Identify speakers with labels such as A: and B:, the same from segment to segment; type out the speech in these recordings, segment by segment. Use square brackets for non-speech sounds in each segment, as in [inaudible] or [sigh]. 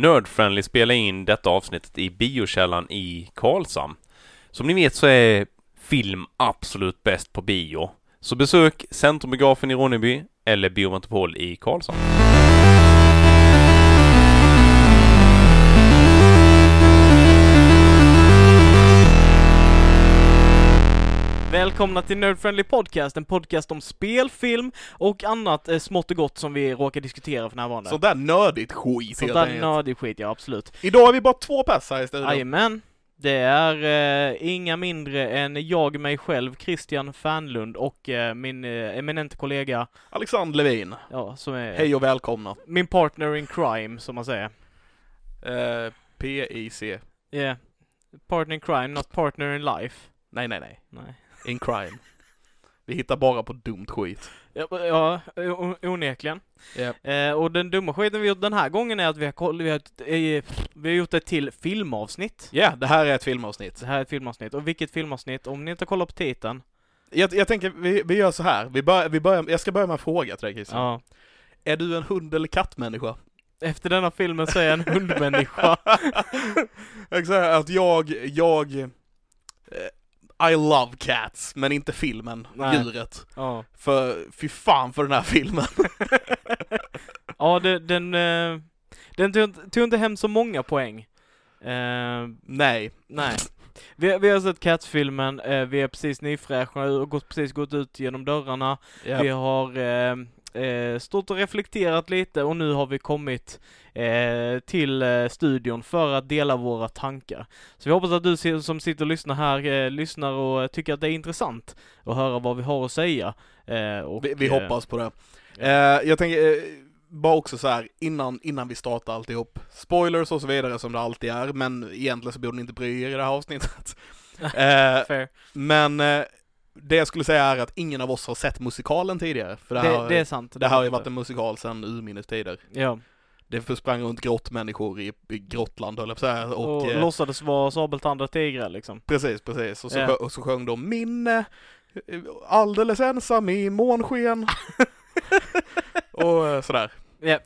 A: Nerdfriendly spelar in detta avsnittet i biokällan i Karlshamn. Som ni vet så är film absolut bäst på bio. Så besök Centrumbiografen i Ronneby eller Biometropol i Karlshamn.
B: Välkomna till Nerd Friendly Podcast, en podcast om spel, film och annat eh, smått och gott som vi råkar diskutera för närvarande.
C: Sånt där nördigt skit
B: Sånt
C: helt
B: där
C: enkelt.
B: nördig skit, ja absolut.
C: Idag är vi bara två pers här i studion.
B: Jajamän. Det är eh, inga mindre än jag, mig själv, Christian Fernlund och eh, min eh, eminente kollega,
C: Alexander Levin.
B: ja, som är
C: Hej och välkomna.
B: min partner in crime, som man säger.
C: Eh, PIC.
B: Yeah. Partner in crime, not partner in life.
C: Nej, nej, nej.
B: Nej.
C: In [laughs] crime. vi hittar bara på dumt skit.
B: Ja, ja o- onekligen.
C: Japp.
B: Eh, och den dumma skiten vi gjort den här gången är att vi har, koll, vi har, ett, eh, vi har gjort ett till filmavsnitt.
C: Ja, det här är ett filmavsnitt.
B: Det här är ett filmavsnitt. Och vilket filmavsnitt? Om ni inte kollar på titeln.
C: Jag, jag tänker, vi, vi gör så här. Vi bör, vi börjar, jag ska börja med en fråga till dig Christian.
B: Ja.
C: Är du en hund eller kattmänniska?
B: Efter denna filmen så är jag en
C: [laughs]
B: hundmänniska.
C: jag säger att jag, jag... eh, I love cats, men inte filmen,
B: Nej.
C: djuret.
B: Ja,
C: För fy fan för den här filmen.
B: ja det, den, eh, den tog, inte- tog inte hem så många poäng. Eh,
C: Nej.
B: nej. Vi, vi har sett Cats-filmen, eh, vi är precis nyfräschade och gått, precis gått ut genom dörrarna.
C: Japp.
B: Vi har eh, eh, stått och reflekterat lite och nu har vi kommit eh, till eh, studion för att dela våra tankar. Så vi hoppas att du si- som sitter och lyssnar här eh, lyssnar och eh, tycker att det är intressant att höra vad vi har att säga. Eh, och,
C: vi, vi
B: eh,
C: hoppas på det. Eh, jag tänker, eh, bara också så här innan, innan vi startar alltihop. Spoilers och så vidare som det alltid är, men egentligen så borde ni inte bry er i det
B: [laughs]
C: här avsnittet. eh,
B: Fair.
C: men eh, det jag skulle säga är att ingen av oss har sett musikalen tidigare. För det, här,
B: Det,
C: har-
B: det är sant.
C: det här har ju varit en musikal sedan urminnes tider.
B: Ja,
C: Det försprang runt grottmänniskor i, i Grottland höll jag på att säga.
B: och,
C: Och, eh,
B: låtsades vara sabeltandade tigrar liksom.
C: Precis, precis. Och så,
B: Ja.
C: sjö- och så sjöng de Minne, eh, alldeles ensam
B: [laughs]
C: i månsken. och eh, sådär.
B: Ja.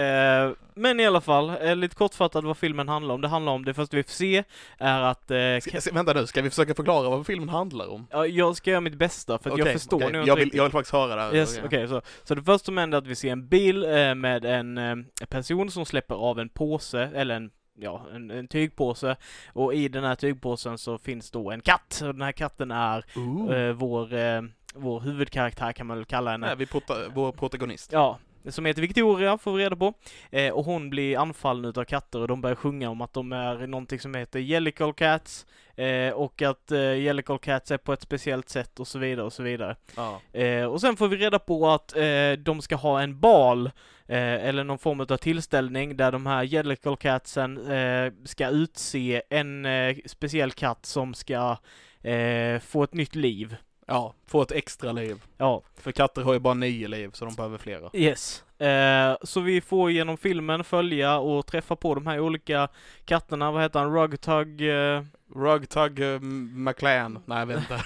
B: Eh, men i alla fall, eh, lite kortfattat vad filmen handlar om. Det handlar om, det första vi får se är att... eh,
C: Ska, ska, vänta nu, ska vi försöka förklara vad filmen handlar om?
B: Ja, jag ska göra mitt bästa för att jag
C: Okej,
B: förstår
C: okej.
B: nu
C: jag vill, jag vill faktiskt höra det här.
B: Yes, okej, så, så det första som händer är att vi ser en bil eh, med en eh, person som släpper av en påse, eller en, ja, en, en tygpåse, och i den här tygpåsen så finns då en katt, och den här katten är
C: Ooh.
B: eh, vår, eh, vår huvudkaraktär kan man väl kalla henne.
C: Nej, vi prota, vår protagonist.
B: Ja, som heter Victoria får vi reda på. Eh, och hon blir anfallen utav katter och de börjar sjunga om att de är någonting som heter Jellicle Cats eh, och att eh, Jellicle Cats är på ett speciellt sätt och så vidare och så vidare.
C: Ja.
B: Eh, och sen får vi reda på att eh, de ska ha en bal eh, eller någon form av tillställning där de här Jellicle Catsen eh, ska utse en eh, speciell katt som ska eh, få ett nytt liv.
C: ja, få ett extra liv.
B: Ja,
C: För katter har ju bara nio liv, så de behöver flera.
B: Yes. Eh, så vi får genom filmen följa och träffa på de här olika katterna, vad heter han, Rugtug, eh,
C: Rugtug uh, McLean.
B: [laughs]
C: Nej, vänta.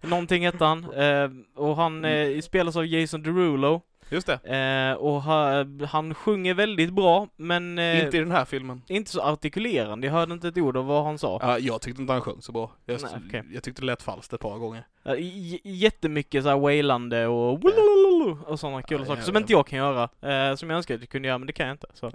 B: någonting heter han. Eh, och han eh, spelas av Jason Derulo.
C: Just det.
B: Eh, och ha, han sjunger väldigt bra, men eh,
C: Inte i den här filmen.
B: inte så artikulerande. Jag hörde inte ett ord av vad han sa.
C: Ja, jag tyckte inte han sjöng så bra. Jag,
B: Nej, okej.
C: jag tyckte det lät falskt ett par gånger.
B: Eh, j- jättemycket så här wailande och och sådana kul
C: Ja,
B: saker
C: ja,
B: som
C: ja.
B: inte jag kan göra. Eh, som jag önskar att jag kunde göra, men det kan jag inte. Så.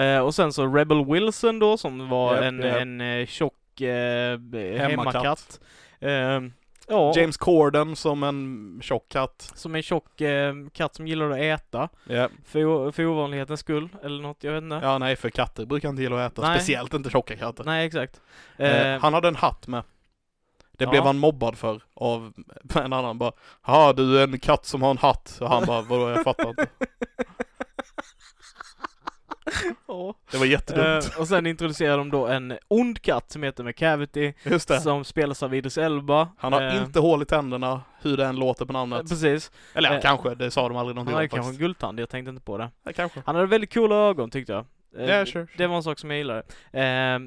B: Eh, och sen så Rebel Wilson då som var
C: Japp,
B: en,
C: japp.
B: en eh, tjock eh, b-
C: Hemmakatt.
B: hemmakatt. Eh, ja,
C: James Corden som en tjock katt.
B: som en tjock eh, katt som gillar att äta.
C: Ja.
B: För, o- för ovanlighetens skull, eller något, jag vet inte.
C: ja, nej, för katter brukar inte gilla att äta.
B: Nej.
C: Speciellt inte tjocka katter.
B: Nej, exakt.
C: Eh,
B: Eh,
C: han hade en hatt med. Det
B: Ja.
C: blev han mobbad för av [laughs] en annan bara Ja du är en katt som har en hatt och han bara vadå jag fattar inte.
B: ja.
C: Det var jättedumt.
B: eh, och sen introducerar de då en ond katt som heter McCavity,
C: Just det.
B: som spelas av Idris Elba.
C: Han har
B: Eh,
C: inte hål i tänderna hur det än låter på
B: eh,
C: namnet.
B: Precis.
C: Eller ja,
B: eh,
C: kanske, det sa de
B: Han
C: aldrig någonting
B: har ju
C: om
B: kanske en
C: faktiskt.
B: guldtand, jag tänkte inte på det.
C: Ja, kanske.
B: Han hade väldigt coola ögon tyckte jag. Eh,
C: Ja, sure, sure.
B: Det var en sak som jag gillade. Eh,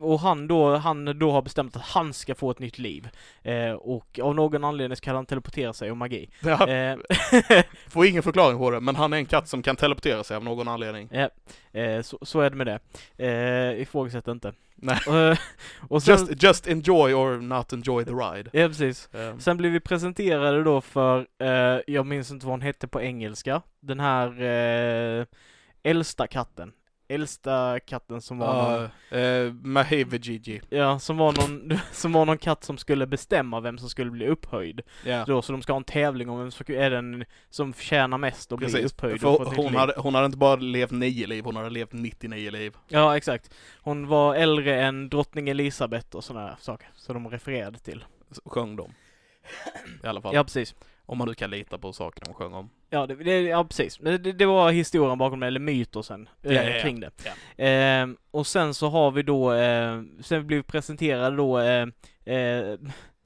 B: och han då, han då har bestämt att han ska få ett nytt liv. Eh, och av någon anledning så kan han teleportera sig och magi.
C: Ja,
B: Eh,
C: får ingen förklaring på det, men han är en katt som kan teleportera sig av någon anledning.
B: eh, så, så är det med det. Eh, ifrågasätt inte.
C: Nej.
B: Eh, och sen,
C: Just, just enjoy or not enjoy the ride.
B: ja, precis.
C: Ehm,
B: Sen blev vi presenterade då för, eh, jag minns inte vad hon hette på engelska, den här eh, äldsta katten. Äldsta katten som var någon
C: Ja, eh, Mahave Gigi.
B: Ja, som var någon, [laughs] som var någon katt som skulle bestämma vem som skulle bli upphöjd.
C: Ja,
B: Då, så de ska ha en tävling om vem som är den som förtjänar mest att bli
C: precis.
B: upphöjd.
C: För
B: och få ett nytt
C: hon,
B: liv.
C: hade, hon hade inte bara levt nio liv, hon hade levt 99 liv.
B: Ja, exakt. Hon var äldre än drottning Elisabeth och sådana saker, som de refererade till.
C: Så Sjöng de. I alla fall.
B: Ja, precis.
C: Om man nu kan lita på saker de sjöng om.
B: Ja, det, det, ja, precis. Men Det, det var historien bakom det, eller mytosen eh,
C: Ja, ja, ja.
B: kring det. Ehm, och sen så har vi då, eh, sen blev vi presenterade då, eh, eh,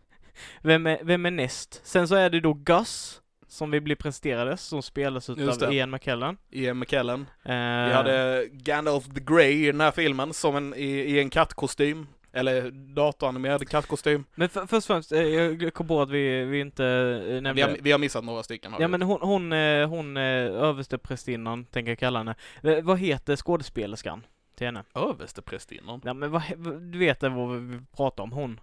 B: [laughs] vem, är, vem är näst? Sen så är det då Gus, som vi blir presenterade, som spelas
C: Just
B: utav
C: det.
B: Ian McKellen.
C: Ian E McKellen.
B: Ehm,
C: Vi hade Gandalf the Grey i den här filmen, som en, i, i en kattkostym. Eller datoranimerad kattkostym.
B: Men för, först och främst, eh, jag kom på att vi, vi inte eh, nämnde...
C: Vi har, vi har missat några stycken. har
B: Ja
C: vi.
B: men hon, hon, eh, hon eh, översteprästinnan, tänker jag kalla henne. Eh, Vad heter skådespelerskan till henne?
C: Översteprästinnan.
B: Ja men vad, he- du vet det vad vi pratar om, hon?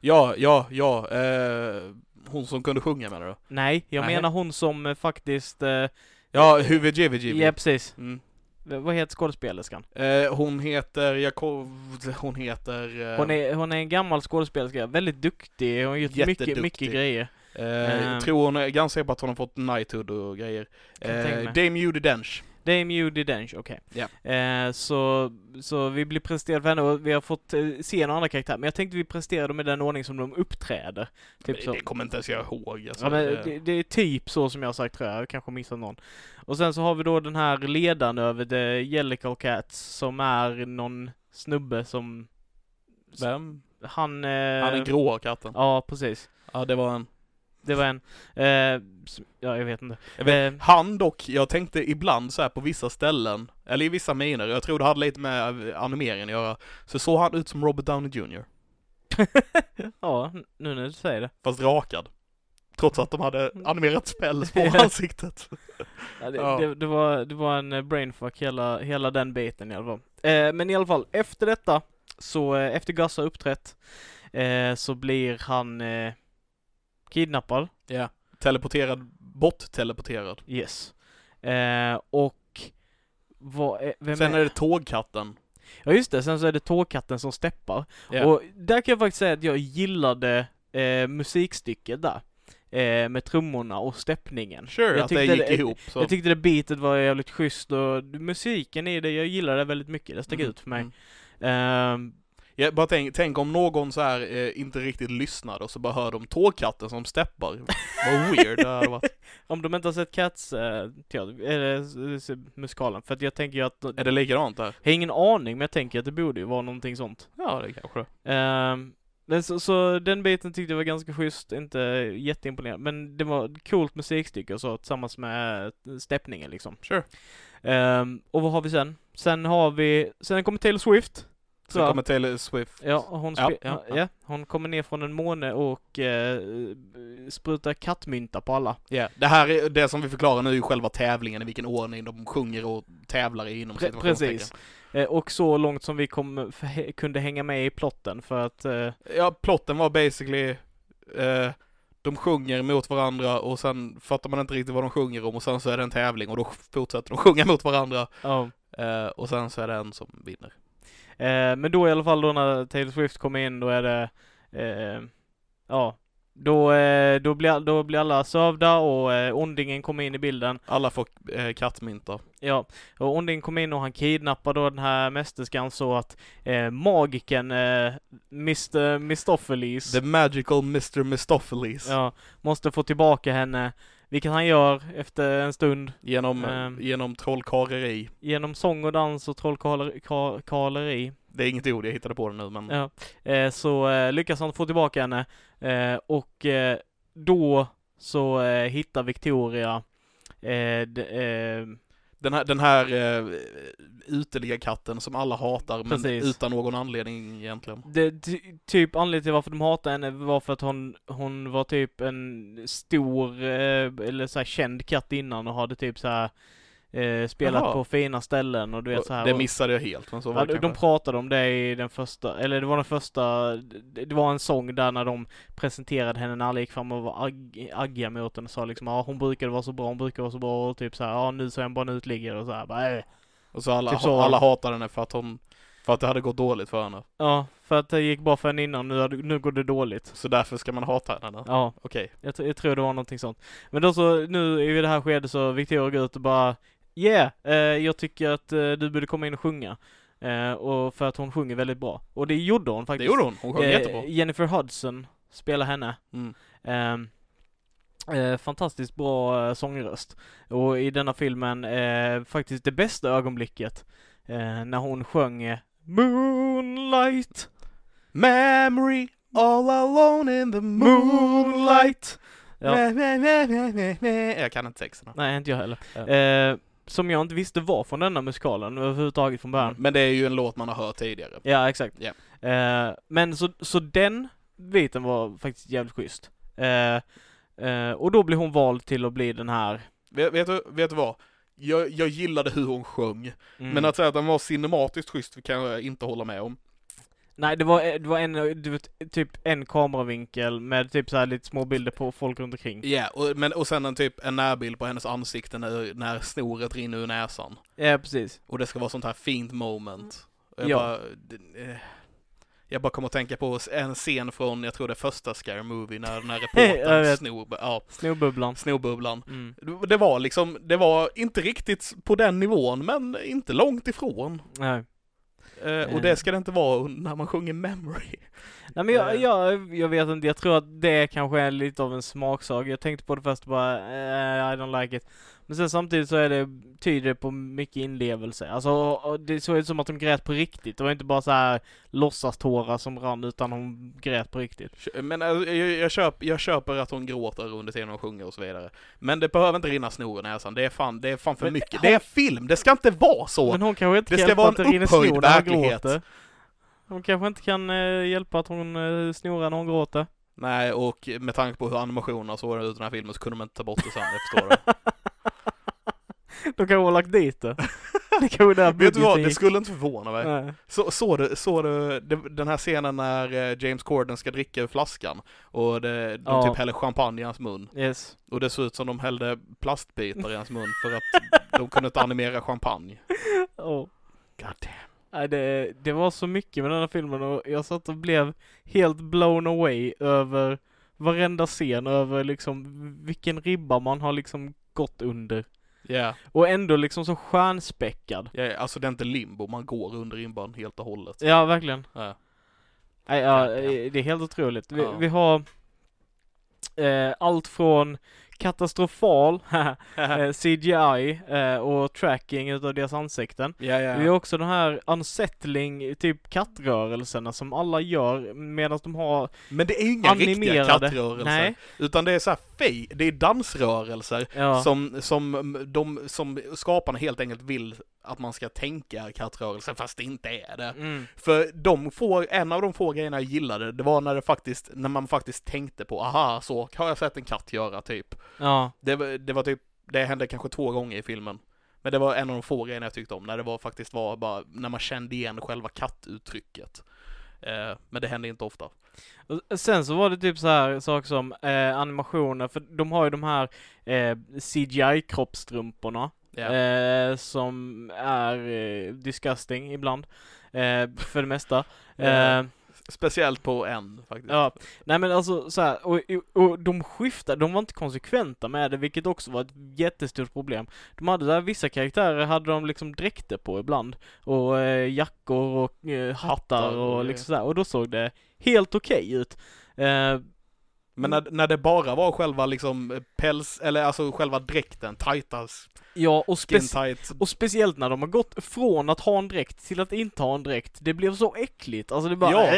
C: Ja, ja, ja. Eh, hon som kunde sjunga menar du?
B: Nej, jag
C: Nej.
B: menar hon som eh, faktiskt... Eh,
C: Ja, Huvudjivijjivi.
B: ja precis.
C: Mm.
B: V- Vad heter skådespelerskan?
C: Eh, hon heter Jakob... Hon heter... Eh,
B: Hon är, hon är en gammal skådespelerska, väldigt duktig, hon har gjort mycket,
C: Jätteduktig.
B: mycket grejer.
C: eh,
B: ehm.
C: Jag tror hon är ganska säker på att hon har fått Knighthood och grejer.
B: Kan jag tänka
C: Eh,
B: mig.
C: Dame Judi Dench.
B: Dame Judi Dench, okej.
C: Ja.
B: Eh, så, så vi blir presenterade för henne och vi har fått eh, se en annan karaktär, men jag tänkte vi presenterade dem i den ordning som de uppträder. Typ så.
C: Det kommer inte ens jag ihåg. Alltså.
B: Ja, men
C: Eh,
B: det, det är typ så som jag har sagt tror jag, jag kanske missat någon. Och sen så har vi då den här ledaren över The Jellicle Cats som är någon snubbe som,
C: Vem?
B: han... Eh,
C: Ja, den gråa katten.
B: Ja, precis.
C: Ja, det var en.
B: Det var en. Eh, som- ja, jag vet inte.
C: Jag vet-
B: eh,
C: Han dock, jag tänkte ibland så här på vissa ställen, eller i vissa miner, jag tror det hade lite med animeringen att göra, så såg han ut som Robert Downey Jr.
B: Eh, [laughs] ja, nu när du säger det.
C: Fast rakad. Trots att de hade animerat päls på
B: Mm. [laughs] Ja.
C: ansiktet.
B: Ja, det,
C: Ja.
B: det, det, var, det var en eh, brainfuck hela, hela den biten i alla fall. Eh, men i alla fall, efter detta, så eh, efter Gus har uppträtt, eh, så blir han eh, kidnappad.
C: Ja. Teleporterad, bort teleporterad.
B: Yes. Eh, och vad är, vem
C: Sen
B: är...
C: är det tågkatten.
B: Ja just det, sen så är det tågkatten som steppar.
C: Ja.
B: Och där kan jag faktiskt säga att jag gillade eh, musikstycket där. Eh, med trummorna och steppningen.
C: Sure,
B: jag
C: att det
B: tyckte
C: gick
B: det-
C: ihop. Så.
B: Jag tyckte det beatet var jävligt schysst och musiken i det, jag gillade det väldigt mycket. Det stack
C: Mm,
B: ut för mig.
C: mm.
B: Ehm,
C: Ja, bara tänk, tänk om någon så här eh, inte riktigt lyssnade och så bara hör de tågkatten som steppar. [laughs] Vad weird det hade varit.
B: [laughs] om de inte har sett Cats, eh, teater, eller eh, musikalen, för att jag tänker ju att, jag
C: Är det likadant där?
B: har ingen aning, men jag tänker att det borde ju vara någonting sånt.
C: Ja, det kanske det.
B: Ehm, men så, så den biten tyckte jag var ganska schysst, inte jätteimponerande, men det var ett coolt musikstycke och så tillsammans med eh, steppningen liksom.
C: Sure.
B: Ehm, och vad har vi sen? Sen har vi, sen kommer Taylor Swift. tror
C: Sen
B: jag.
C: kommer Taylor Swift.
B: Ja, och hon,
C: Ja,
B: spe- ja, ja.
C: ja, ja.
B: hon kommer ner från en måne och eh, sprutar kattmynta på alla.
C: Ja, det här är, det som vi förklarar nu är ju själva tävlingen i vilken ordning de sjunger och tävlar i inom
B: Pre- precis. Eh, och så långt som vi kom, för, kunde hänga med i plotten för att eh,
C: Ja, plotten var basically eh, de sjunger mot varandra och sen fattar man inte riktigt vad de sjunger om och sen så är det en tävling och då fortsätter de sjunga mot varandra
B: ja.
C: eh, och sen så är det en som vinner.
B: Eh, men då i alla fall då när Taylor Swift kommer in då är det, eh, ja, då, eh, då, blir, då blir alla sövda och eh, ondingen kommer in i bilden.
C: Alla får eh, kattmynta.
B: Ja, och ondingen kommer in och han kidnappar då den här mästerskan så att eh, magiken eh, Mr. Mistopheles
C: The magical Mr. Mistopheles.
B: ja, måste få tillbaka henne, vilket han gör efter en stund
C: Genom,
B: Ehm.
C: genom trollkarleri.
B: genom sång och dans och trollkarleri.
C: Det är inget ord, jag hittade på det nu men.
B: Ja, eh, så eh, lyckas han få tillbaka henne eh, och eh, då så eh, hittar Victoria eh, d- eh,
C: Den här, den här eh, uteliggarkatten som alla hatar men
B: Precis.
C: utan någon anledning egentligen.
B: Det, ty, typ anledningen till varför de hatade henne var för att hon, hon var typ en stor, eh, eller så här känd katt innan och hade typ så här eh, spelat
C: Jaha.
B: på fina ställen och du vet så här.
C: det
B: och-
C: missade jag helt, men så var
B: Ja,
C: det
B: de- de
C: kanske.
B: pratade om det i den första, eller det var den första, det det var en sång där när de presenterade henne när alla gick fram och var agg, aggiga mot henne och sa liksom ja hon brukade vara så bra, hon brukade vara så bra och typ så här, ja nu så är hon bara en utliggare och så här, bara, äh.
C: Och så alla,
B: typ så.
C: alla hatar henne för att hon, för att det hade gått dåligt för henne.
B: Ja, för att det gick bra för henne innan, nu, hade- nu går det dåligt.
C: Så därför ska man hata henne. då?
B: Ja,
C: Okej.
B: jag, tr- jag tror det var någonting sånt. Men då så, nu i det här skedet så Victoria går ut och bara Yeah! Eh, jag tycker att eh, du borde komma in och sjunga. Eh, och för att hon sjunger väldigt bra. Och det gjorde hon
C: Det
B: faktiskt.
C: gjorde hon, hon sjöng
B: Eh,
C: jättebra.
B: Jennifer Hudson spelar henne.
C: Mm.
B: Ehm, eh, fantastiskt bra eh, sångröst. Och i denna filmen eh, faktiskt det bästa ögonblicket eh, när hon sjöng eh, Moonlight,
C: Memory all alone in the moonlight.
B: Ja.
C: Mä, mä, mä, mä, mä, mä. Jag kan inte texterna.
B: Nej, inte jag heller.
C: Ja.
B: Eh, som jag inte visste var från denna musikalen överhuvudtaget från början.
C: Men det är ju en låt man har hört tidigare.
B: Ja, exakt.
C: Ja.
B: Eh, men så, så den biten var faktiskt jävligt schysst. Eh, eh, och då blev hon vald till att bli den här...
C: Vet, vet, du, vet du vad? Jag, jag gillade hur hon sjöng,
B: Mm.
C: men att säga att den var cinematiskt schysst kan jag inte hålla med om.
B: Nej, det var, eh, det var en, du vet, typ en kameravinkel med typ så här lite små bilder på folk runt omkring.
C: Ja, och, men, och sen en typ en närbild på hennes ansikte när, när snoret rinner ur näsan.
B: Ja, precis.
C: Och det ska vara sånt här fint moment. Och Jag,
B: Ja.
C: bara, det- eh, jag bara kommer att tänka på en scen från, jag tror det är första Scary Movie,
B: [laughs]
C: när den här
B: Jag
C: reportern
B: vet.
C: snor, ja,
B: Snowbubblan.
C: snorbubblan.
B: Mm.
C: Det var liksom, det var inte riktigt på den nivån, men inte långt ifrån.
B: Nej.
C: Eh, och
B: Eh.
C: det ska det inte vara när man sjunger Memory.
B: Nej men jag,
C: Eh.
B: jag, jag vet inte, jag tror att det kanske är lite av en smaksak. Jag tänkte på det först och bara, eh, I don't like it. Men sen samtidigt så är det, tyder det på mycket inlevelse. Alltså, och- och det såg ut som att de grät på riktigt. Det var inte bara så här låtsastårar som rann, utan hon grät på riktigt.
C: Men eh, jag, jag, köp, jag köper att hon gråter under tiden hon sjunger och så vidare. Men det behöver inte rinna snor i näsan, det är fan, det är fan för
B: Men
C: mycket.
B: hon-
C: Det är film, det ska inte vara så!
B: Men hon kanske inte
C: Det
B: kan
C: ska
B: hjälpa
C: vara
B: att
C: en
B: det rinner
C: upphöjd
B: snor när hon
C: verklighet.
B: gråter. Hon kanske inte kan eh, hjälpa att hon eh, snorar när hon gråter.
C: Nej, och med tanke på hur animationerna såg ut i den här filmen så kunde man inte ta bort det sen, jag förstår det.
B: [laughs] Då kan hon ha lagt dit det. Det kanske är där
C: [laughs] Vet du vad,
B: budgeten
C: det
B: gick.
C: skulle inte förvåna mig.
B: Nej.
C: Så, så du, så du det- den här scenen när eh, James Corden ska dricka ur flaskan och det, de
B: Ja.
C: typ häller champagne i hans mun
B: Yes.
C: och det såg ut som de hällde plastbitar i hans mun för att de
B: [laughs]
C: kunde inte animera champagne.
B: Åh.
C: God damn.
B: Nej, det, det var så mycket med den här filmen och jag satt och blev helt blown away över varenda scen, över liksom vilken ribba man har liksom gått under.
C: Yeah.
B: Och ändå liksom så stjärnspäckad.
C: Yeah, alltså det är inte limbo, man går under ribban helt och hållet.
B: Ja, verkligen. [laughs]
C: Ja.
B: Nej, ja, eh, det är helt otroligt. Vi,
C: Ja.
B: vi har eh, allt från katastrofal [laughs] eh, CGI eh, och tracking utav deras ansikten.
C: Ja, ja.
B: Det är också de här unsettling, typ kattrörelserna som alla gör medan de har...
C: Men det är ju inga riktiga
B: Animerade.
C: kattrörelser.
B: Nej.
C: Utan det är så här fej, det är dansrörelser
B: Ja.
C: som, som, de, som skaparna helt enkelt vill att man ska tänka är kattrörelser fast det inte är det.
B: Mm.
C: För de få, en av de få grejerna jag gillade, det var när det faktiskt, när man faktiskt tänkte på, aha, så har jag sett en katt göra typ.
B: Ja.
C: Det, var- det var typ, det hände kanske två gånger i filmen. Men det var en av de få grejerna jag tyckte om, när det var faktiskt var bara, när man kände igen själva kattuttrycket. Eh, men det hände inte ofta.
B: Och sen så var det typ så här saker som eh, animationer, för de har ju de här eh, CGI-kroppstrumporna
C: Ja.
B: eh, som är eh, disgusting ibland. Eh, för det mesta.
C: Ja.
B: Eh,
C: Speciellt på en faktiskt.
B: Ja, nej men alltså så här, och, och, och de skiftade, de var inte konsekventa med det, vilket också var ett jättestort problem. De hade där, vissa karaktärer hade de liksom dräkter på ibland, och eh, jackor och eh, hattar
C: Hattar och
B: och
C: grejer.
B: liksom sådär, och då såg det helt okej ut. Eh,
C: Men när, när det bara var själva liksom päls, eller alltså själva dräkten, tajtas,
B: ja, och,
C: skin
B: spec-
C: tight.
B: och speciellt när de har gått från att ha en dräkt till att inte ha en dräkt, det blev så äckligt, alltså det bara...
C: Ja.
B: Äh,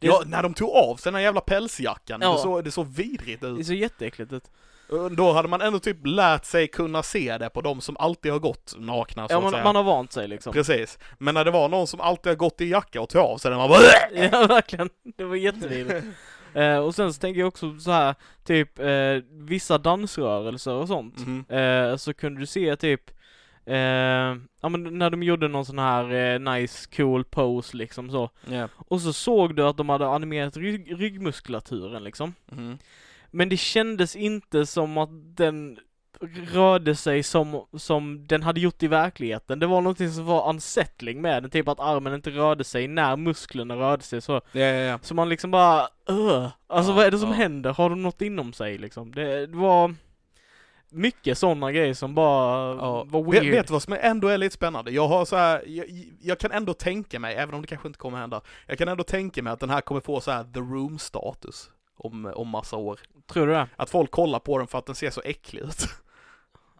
B: det, är,
C: Ja, när de tog av sig den här jävla pälsjackan,
B: Ja.
C: det, såg, det såg vidrigt
B: det är
C: ut.
B: så jätteäckligt ut.
C: Och Då hade man ändå typ lärt sig kunna se det på de som alltid har gått nakna Alltså, så
B: Ja,
C: att
B: man,
C: säga.
B: man har vant sig
C: [laughs]
B: liksom. [laughs]
C: Precis. Men när det var någon som alltid har gått i jacka och tog av sig den, man bara
B: Ja, verkligen. Det var
C: [laughs]
B: jättevidrigt. Eh, och sen så tänker jag också så här, typ eh, vissa dansrörelser och sånt.
C: Mhm.
B: Eh, så kunde du se typ eh, ja men när de gjorde någon sån här eh, nice cool pose liksom så. Och så såg du att de hade animerat rygg, ryggmuskulaturen liksom.
C: Mhm.
B: Men det kändes inte som att den rörde sig som, som den hade gjort i verkligheten. Det var någonting som var unsettling med den, typ att armen inte rörde sig när musklerna rörde sig så.
C: Ja, ja, ja.
B: Så man liksom bara Ugh. Alltså
A: Ja,
B: vad är det som
A: ja.
B: händer? Har de något inom sig liksom? Det, det var mycket sådana grejer som bara
C: Ja.
B: var
C: Vet,
B: weird.
C: vet du vad som ändå är lite spännande? Jag har så här, jag, jag kan ändå tänka mig, även om det kanske inte kommer hända, jag kan ändå tänka mig att den här kommer få så här the room-status om, om massa år.
B: Tror du det?
C: Att folk kollar på den för att den ser så äcklig ut.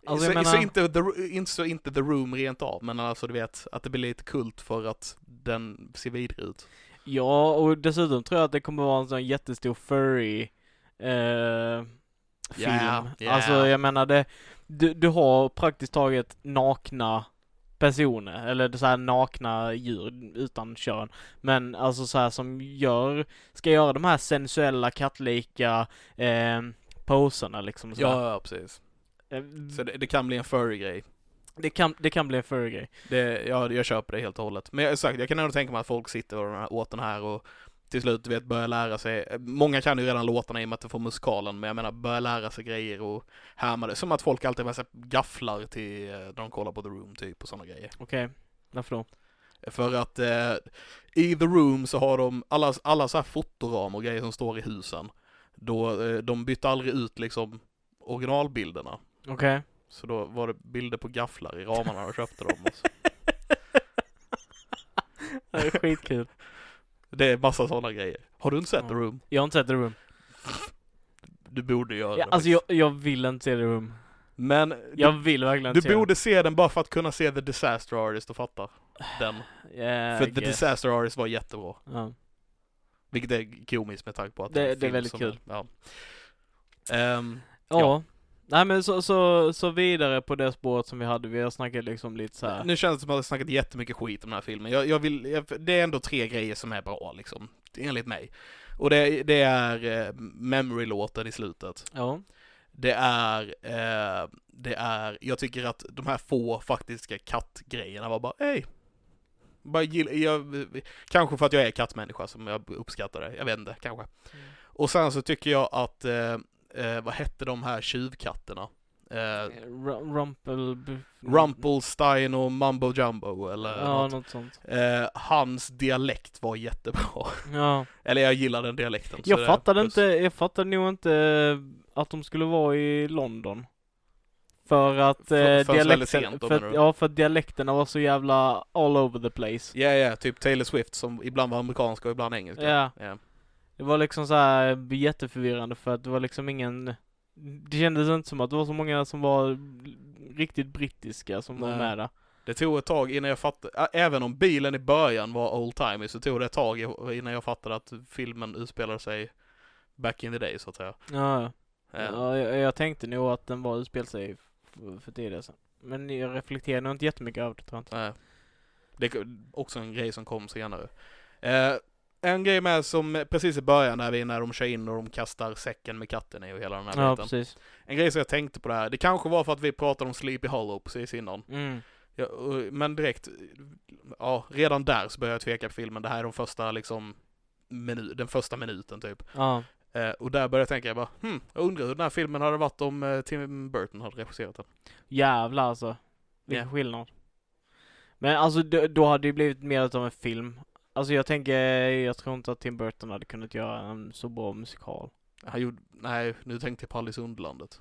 B: Alltså,
C: så,
B: jag menar-
C: så, inte the, inte, så inte the room rent av, men alltså du vet, att det blir lite kult för att den ser vidrig ut.
B: Ja, och dessutom tror jag att det kommer vara en sån jättestor furry eh, film.
C: Ja, ja.
B: Alltså jag menar det, du, du har praktiskt taget nakna personer, eller så här nakna djur utan kön. Men alltså så här som gör, ska göra de här sensuella kattlika eh, poserna liksom. Så här.
C: ja precis.
B: Eh,
C: Så det, det kan bli en furry-grej.
B: Det, kan, det kan bli en furry-grej.
C: Det, ja, jag köper det helt och hållet. Men jag, sagt, jag kan ändå tänka mig att folk sitter och den här, åt den här och till slut du vet, börjar lära sig. Många kan ju redan låtarna i och med att de får musikalen, men jag menar börjar lära sig grejer och härma det. Som att folk alltid med sig gafflar till eh, när de kollar på The Room typ och sådana grejer.
B: Okej, varför då?
C: För att eh, i The Room så har de alla, alla så här fotoram och grejer som står i husen. Då, eh, de bytte aldrig ut liksom originalbilderna.
B: Okej.
C: [laughs] Så då var det bilder på gafflar i ramarna när de köpte dem. Och så.
B: Det är skitkul.
C: Det är massa sådana grejer. Har du inte sett
B: Ja.
C: The Room?
B: Jag har inte sett The Room.
C: Du borde göra
B: Ja,
C: det.
B: alltså jag, jag vill inte se The Room.
C: Men
B: Jag vill verkligen
C: du,
B: inte
C: du borde se den bara för att kunna se The Disaster Artist och fatta den.
B: Äh, Yeah,
C: för The Disaster Artist var jättebra.
B: ja.
C: Vilket är komiskt med tanke på att
B: Det-
C: är en
B: det är
C: film
B: väldigt
C: som-
B: kul.
C: Ja. Ehm,
B: ja.
C: Ja.
B: Nej men så, så, så vidare på det spåret som vi hade, vi har snackat liksom lite så här.
C: Nu känns det som att jag har snackat jättemycket skit om den här filmen. Jag, jag vill, jag, det är ändå tre grejer som är bra liksom, enligt mig. Och det, det är eh, Memory-låten i slutet.
B: Ja.
C: Det är, eh, det är, jag tycker att de här få faktiska kattgrejerna var bara, hej. Bara gill, jag, kanske för att jag är kattmänniska som jag uppskattar det, jag vet inte, kanske.
B: Mm.
C: Och sen så tycker jag att, eh, eh, vad hette de här tjuvkatterna? Eh,
B: R- Rumpel...
C: Rumpelstein och Mumbo Jumbo eller
B: Mm. Ja,
C: något.
B: något sånt.
C: Eh, hans dialekt var jättebra. [laughs]
B: Ja.
C: Eller jag gillar den dialekten. så det
B: Jag
C: är
B: fattade
C: plus.
B: inte, jag fattade nog inte eh, att de skulle vara i London. För att eh,
C: För- först väldigt
B: dialekten,
C: sent då,
B: för,
C: menar
B: att-
C: du?
B: ja för att dialekterna var så jävla all over the place.
C: Ja, ja, typ Taylor Swift som ibland var amerikansk och ibland engelska.
B: Ja.
C: Ja.
B: Det var liksom så här jätteförvirrande för att det var liksom ingen Det kändes inte som att det var så många som var riktigt brittiska som var
C: Nej.
B: med där.
C: Det tog ett tag innan jag fattade, Ä- även om bilen i början var old timey så tog det ett tag i- innan jag fattade att filmen utspelade sig back in the day så att säga.
B: Ja, ja.
C: Eh,
B: ja jag, jag tänkte nog att den var utspelad sig f- för tidigare sen. Men jag reflekterar nog inte jättemycket över det tror jag inte.
C: nej. eh. Det är också en grej som kom senare. Eh, en grej med som precis i början där vi när de kör in och de kastar säcken med katten i och hela den här
B: Ja,
C: biten.
B: precis.
C: En grej som jag tänkte på det här, det kanske var för att vi pratade om Sleepy Hollow precis innan.
B: Mm.
C: Ja, och- men direkt, ja, redan där så började jag tveka på filmen. Det här är de första liksom, minu- den första minuten typ.
B: Ja.
C: Eh, och där började jag tänka, jag bara, hm, jag undrar hur den här filmen hade varit om eh, Tim Burton hade regisserat den.
B: Jävlar alltså. Vilken
C: Ja.
B: skillnad. Men alltså då, då hade det blivit mer utav en film. Alltså jag tänker, jag tror inte att Tim Burton hade kunnat göra en så bra musikal.
C: Han gjorde, nej, nu tänkte jag på Alice i Underlandet.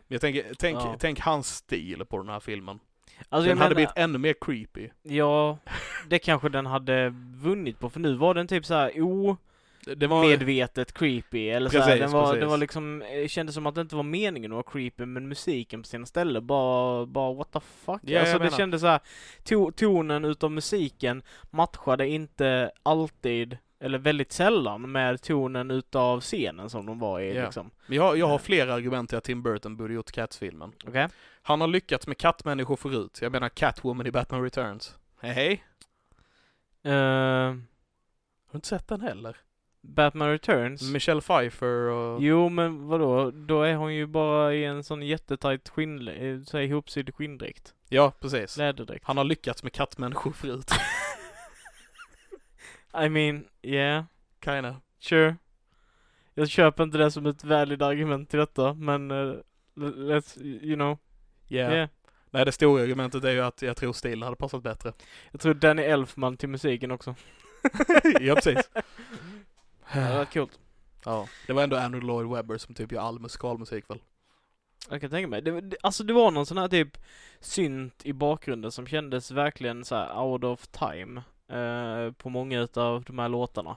C: Men jag tänker, tänk,
B: Ja.
C: tänk hans stil på den här filmen.
B: Alltså
C: den hade
B: menar-
C: blivit ännu mer creepy.
B: Ja, det kanske den hade vunnit på för nu var den typ så här
C: Det var,
B: omedvetet creepy eller så här.
C: Precis,
B: Den var,
C: precis.
B: den var liksom, eh, kändes som att det inte var meningen att vara creepy men musiken på sina ställen bara, bara what the fuck?
C: Ja, jag
B: alltså det
C: menar.
B: kändes så här, to, tonen utav musiken matchade inte alltid eh, eller väldigt sällan, med tonen utav scenen som de var i
C: Ja.
B: liksom.
C: Men jag, jag har flera argument till att Tim Burton borde gjort Cats-filmen.
B: Okej?
C: Han har lyckats med kattmänniskor förut. Jag menar Catwoman i Batman Returns. Hej hej!
B: Eh,
C: Har du inte sett den heller?
B: Batman Returns?
C: Michelle Pfeiffer och...
B: Jo men vadå, då är hon ju bara i en sån jättetajt skinn, eh, så här ihopsydd skinndräkt.
C: Ja, precis.
B: Läderdräkt.
C: Han har lyckats med kattmänniskor förut.
B: [laughs] I mean, yeah,
C: Kinda.
B: sure. Jag köper inte det som ett värdigt argument till detta, men eh, let's, you know,
C: Yeah.
B: yeah.
C: Nej, det stora argumentet är ju att jag tror Steel hade
B: [laughs]
C: passat bättre.
B: Jag tror Danny Elfman till musiken också.
C: ja, precis.
B: Det hade varit coolt.
C: Ja. Det var ändå Andrew Lloyd Webber som typ gör all musikalmusik väl?
B: Jag kan tänka mig. Det, det, alltså det var någon sån här typ synt i bakgrunden som kändes verkligen så här out of time. Eh, på många utav de här låtarna.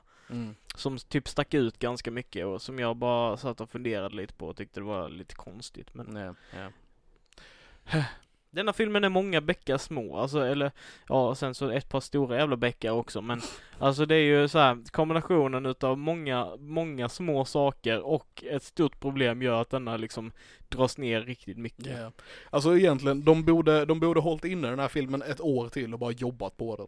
B: Som typ stack ut ganska mycket och som jag bara satt och funderade lite på och tyckte det var lite konstigt. Men
C: Ja, ja.
B: denna filmen är många bäckar små. Alltså eller ja, sen så ett par stora jävla bäckar också. Men alltså det är ju så här kombinationen utav många, många små saker och ett stort problem gör att denna liksom dras ner riktigt mycket.
C: Ja. Alltså egentligen, de borde, de borde hållit inne den här filmen ett år till och bara jobbat på den.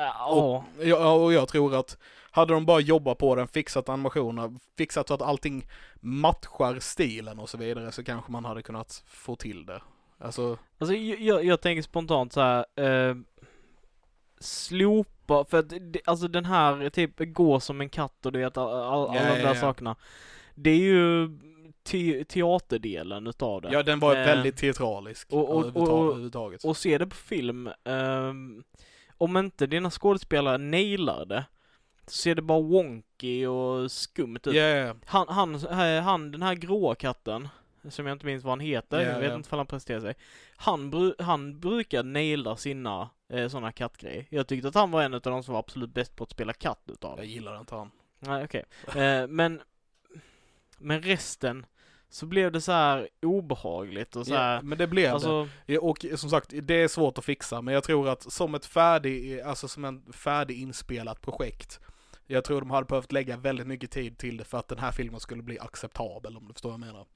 B: Ja.
C: Ja, och jag tror att hade de bara jobbat på den, fixat animationerna, fixat så att allting matchar stilen och så vidare så kanske man hade kunnat få till det. Alltså,
B: Alltså jag, jag, jag tänker spontant så här. Eh, slopa, för att det, alltså den här typ gå som en katt och du vet all, all, alla
C: Ja,
B: de
C: ja,
B: där
C: ja.
B: sakerna. Det är ju te, teaterdelen utav det.
C: ja den var
B: Eh,
C: väldigt teatralisk
B: och- och-
C: överhuvudtaget-
B: och-
C: överhuvudtaget.
B: Och se det på film, ehm, om inte dina skådespelare nailar det, så ser det bara wonky och skumt ut.
C: Ja, ja, ja.
B: Han, han, eh, han, den här gråa katten, som jag inte minns vad han heter,
C: Ja,
B: jag vet
C: ja.
B: inte om han presenterar sig. Han, bru- han brukar naila sina eh, sådana kattgrejer. Jag tyckte att han var en av de som var absolut bäst på att spela katt utav
C: Jag gillar inte han.
B: Nej, okej. Eh, men, men resten, så blev det så här obehagligt och så
C: Ja,
B: här,
C: men det blev det.
B: alltså,
C: Ja, Och som sagt, det är svårt att fixa, men jag tror att som ett färdig, alltså som en färdiginspelat projekt, jag tror de hade behövt lägga väldigt mycket tid till det för att den här filmen skulle bli acceptabel, om du förstår vad jag menar.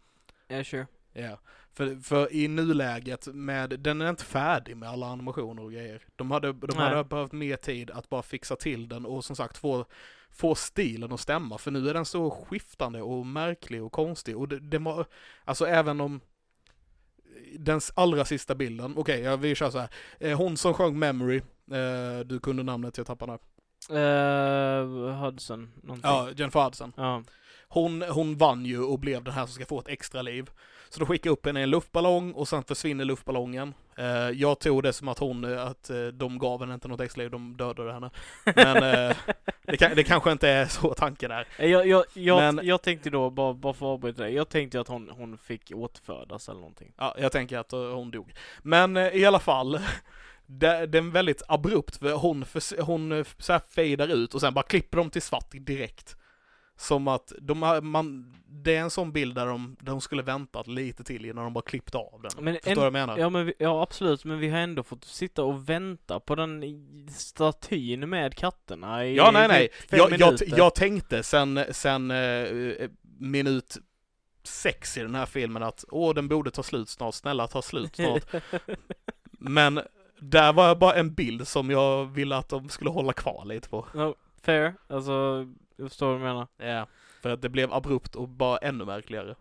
B: yeah, sure.
C: Ja. För, för i nuläget, med, den är inte färdig med alla animationer och grejer. De hade, de
B: Nej.
C: hade behövt mer tid att bara fixa till den och som sagt få, få stilen att stämma, för nu är den så skiftande och märklig och konstig. Och det, det var, alltså även om den s- allra sista bilden, okej, ja, vi kör så här. Eh, Hon som sjöng Memory, eh, du kunde namnet, jag tappade det.
B: Eh, Hudson, någonting.
C: Ja, Jennifer Hudson.
B: Ja.
C: Hon, hon vann ju och blev den här som ska få ett extra liv. Så de skickar upp henne i en luftballong och sen försvinner luftballongen. Eh, jag tog det som att hon, eh, att eh, de gav henne inte något extra liv, de dödade henne. Men eh, det, kan, det kanske inte är så tanken är.
B: Eh, [laughs] Jag, jag, jag,
C: Men-
B: jag tänkte då, bara, bara för att avbryta dig, jag tänkte att hon, hon fick återfödas eller någonting.
C: Ja, jag tänker att eh, hon dog. Men eh, i alla fall, det, det är väldigt abrupt, för hon, förs- hon eh, så här fejdar ut och sen bara klipper de till svart direkt. Som att de har, man, det är en sån bild där de, där de skulle väntat lite till innan de bara klippt av den.
B: Men
C: Förstår
B: en-
C: du vad jag menar?
B: Ja men vi, ja absolut, men vi har ändå fått sitta och vänta på den i- statyn med katterna i
C: Ja, nej, nej.
B: typ fem
C: Jag, jag,
B: minuter.
C: jag tänkte sen, sen eh, minut sex i den här filmen att åh, den borde ta slut snart, snälla
B: [laughs]
C: ta slut snart. Men där var jag bara en bild som jag ville att de skulle hålla kvar lite på.
B: no, fair, alltså jag förstår vad du menar.
C: Ja. För att det blev abrupt och bara ännu märkligare.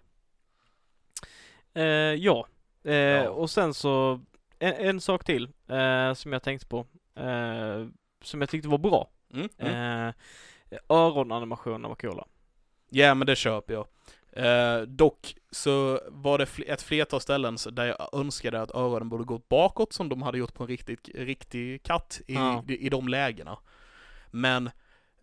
B: Eh, ja. Eh,
C: Ja.
B: och sen så, en, en sak till eh, som jag tänkte på, eh, som jag tyckte var bra.
C: Mm. Mm.
B: Eh, öronanimationerna var coola.
C: Ja, men det köper jag. Eh, dock så var det fl- ett flertal ställen så- där jag önskade att öronen borde gått bakåt som de hade gjort på en riktigt, riktig katt i,
B: Ja.
C: i, de lägena. Men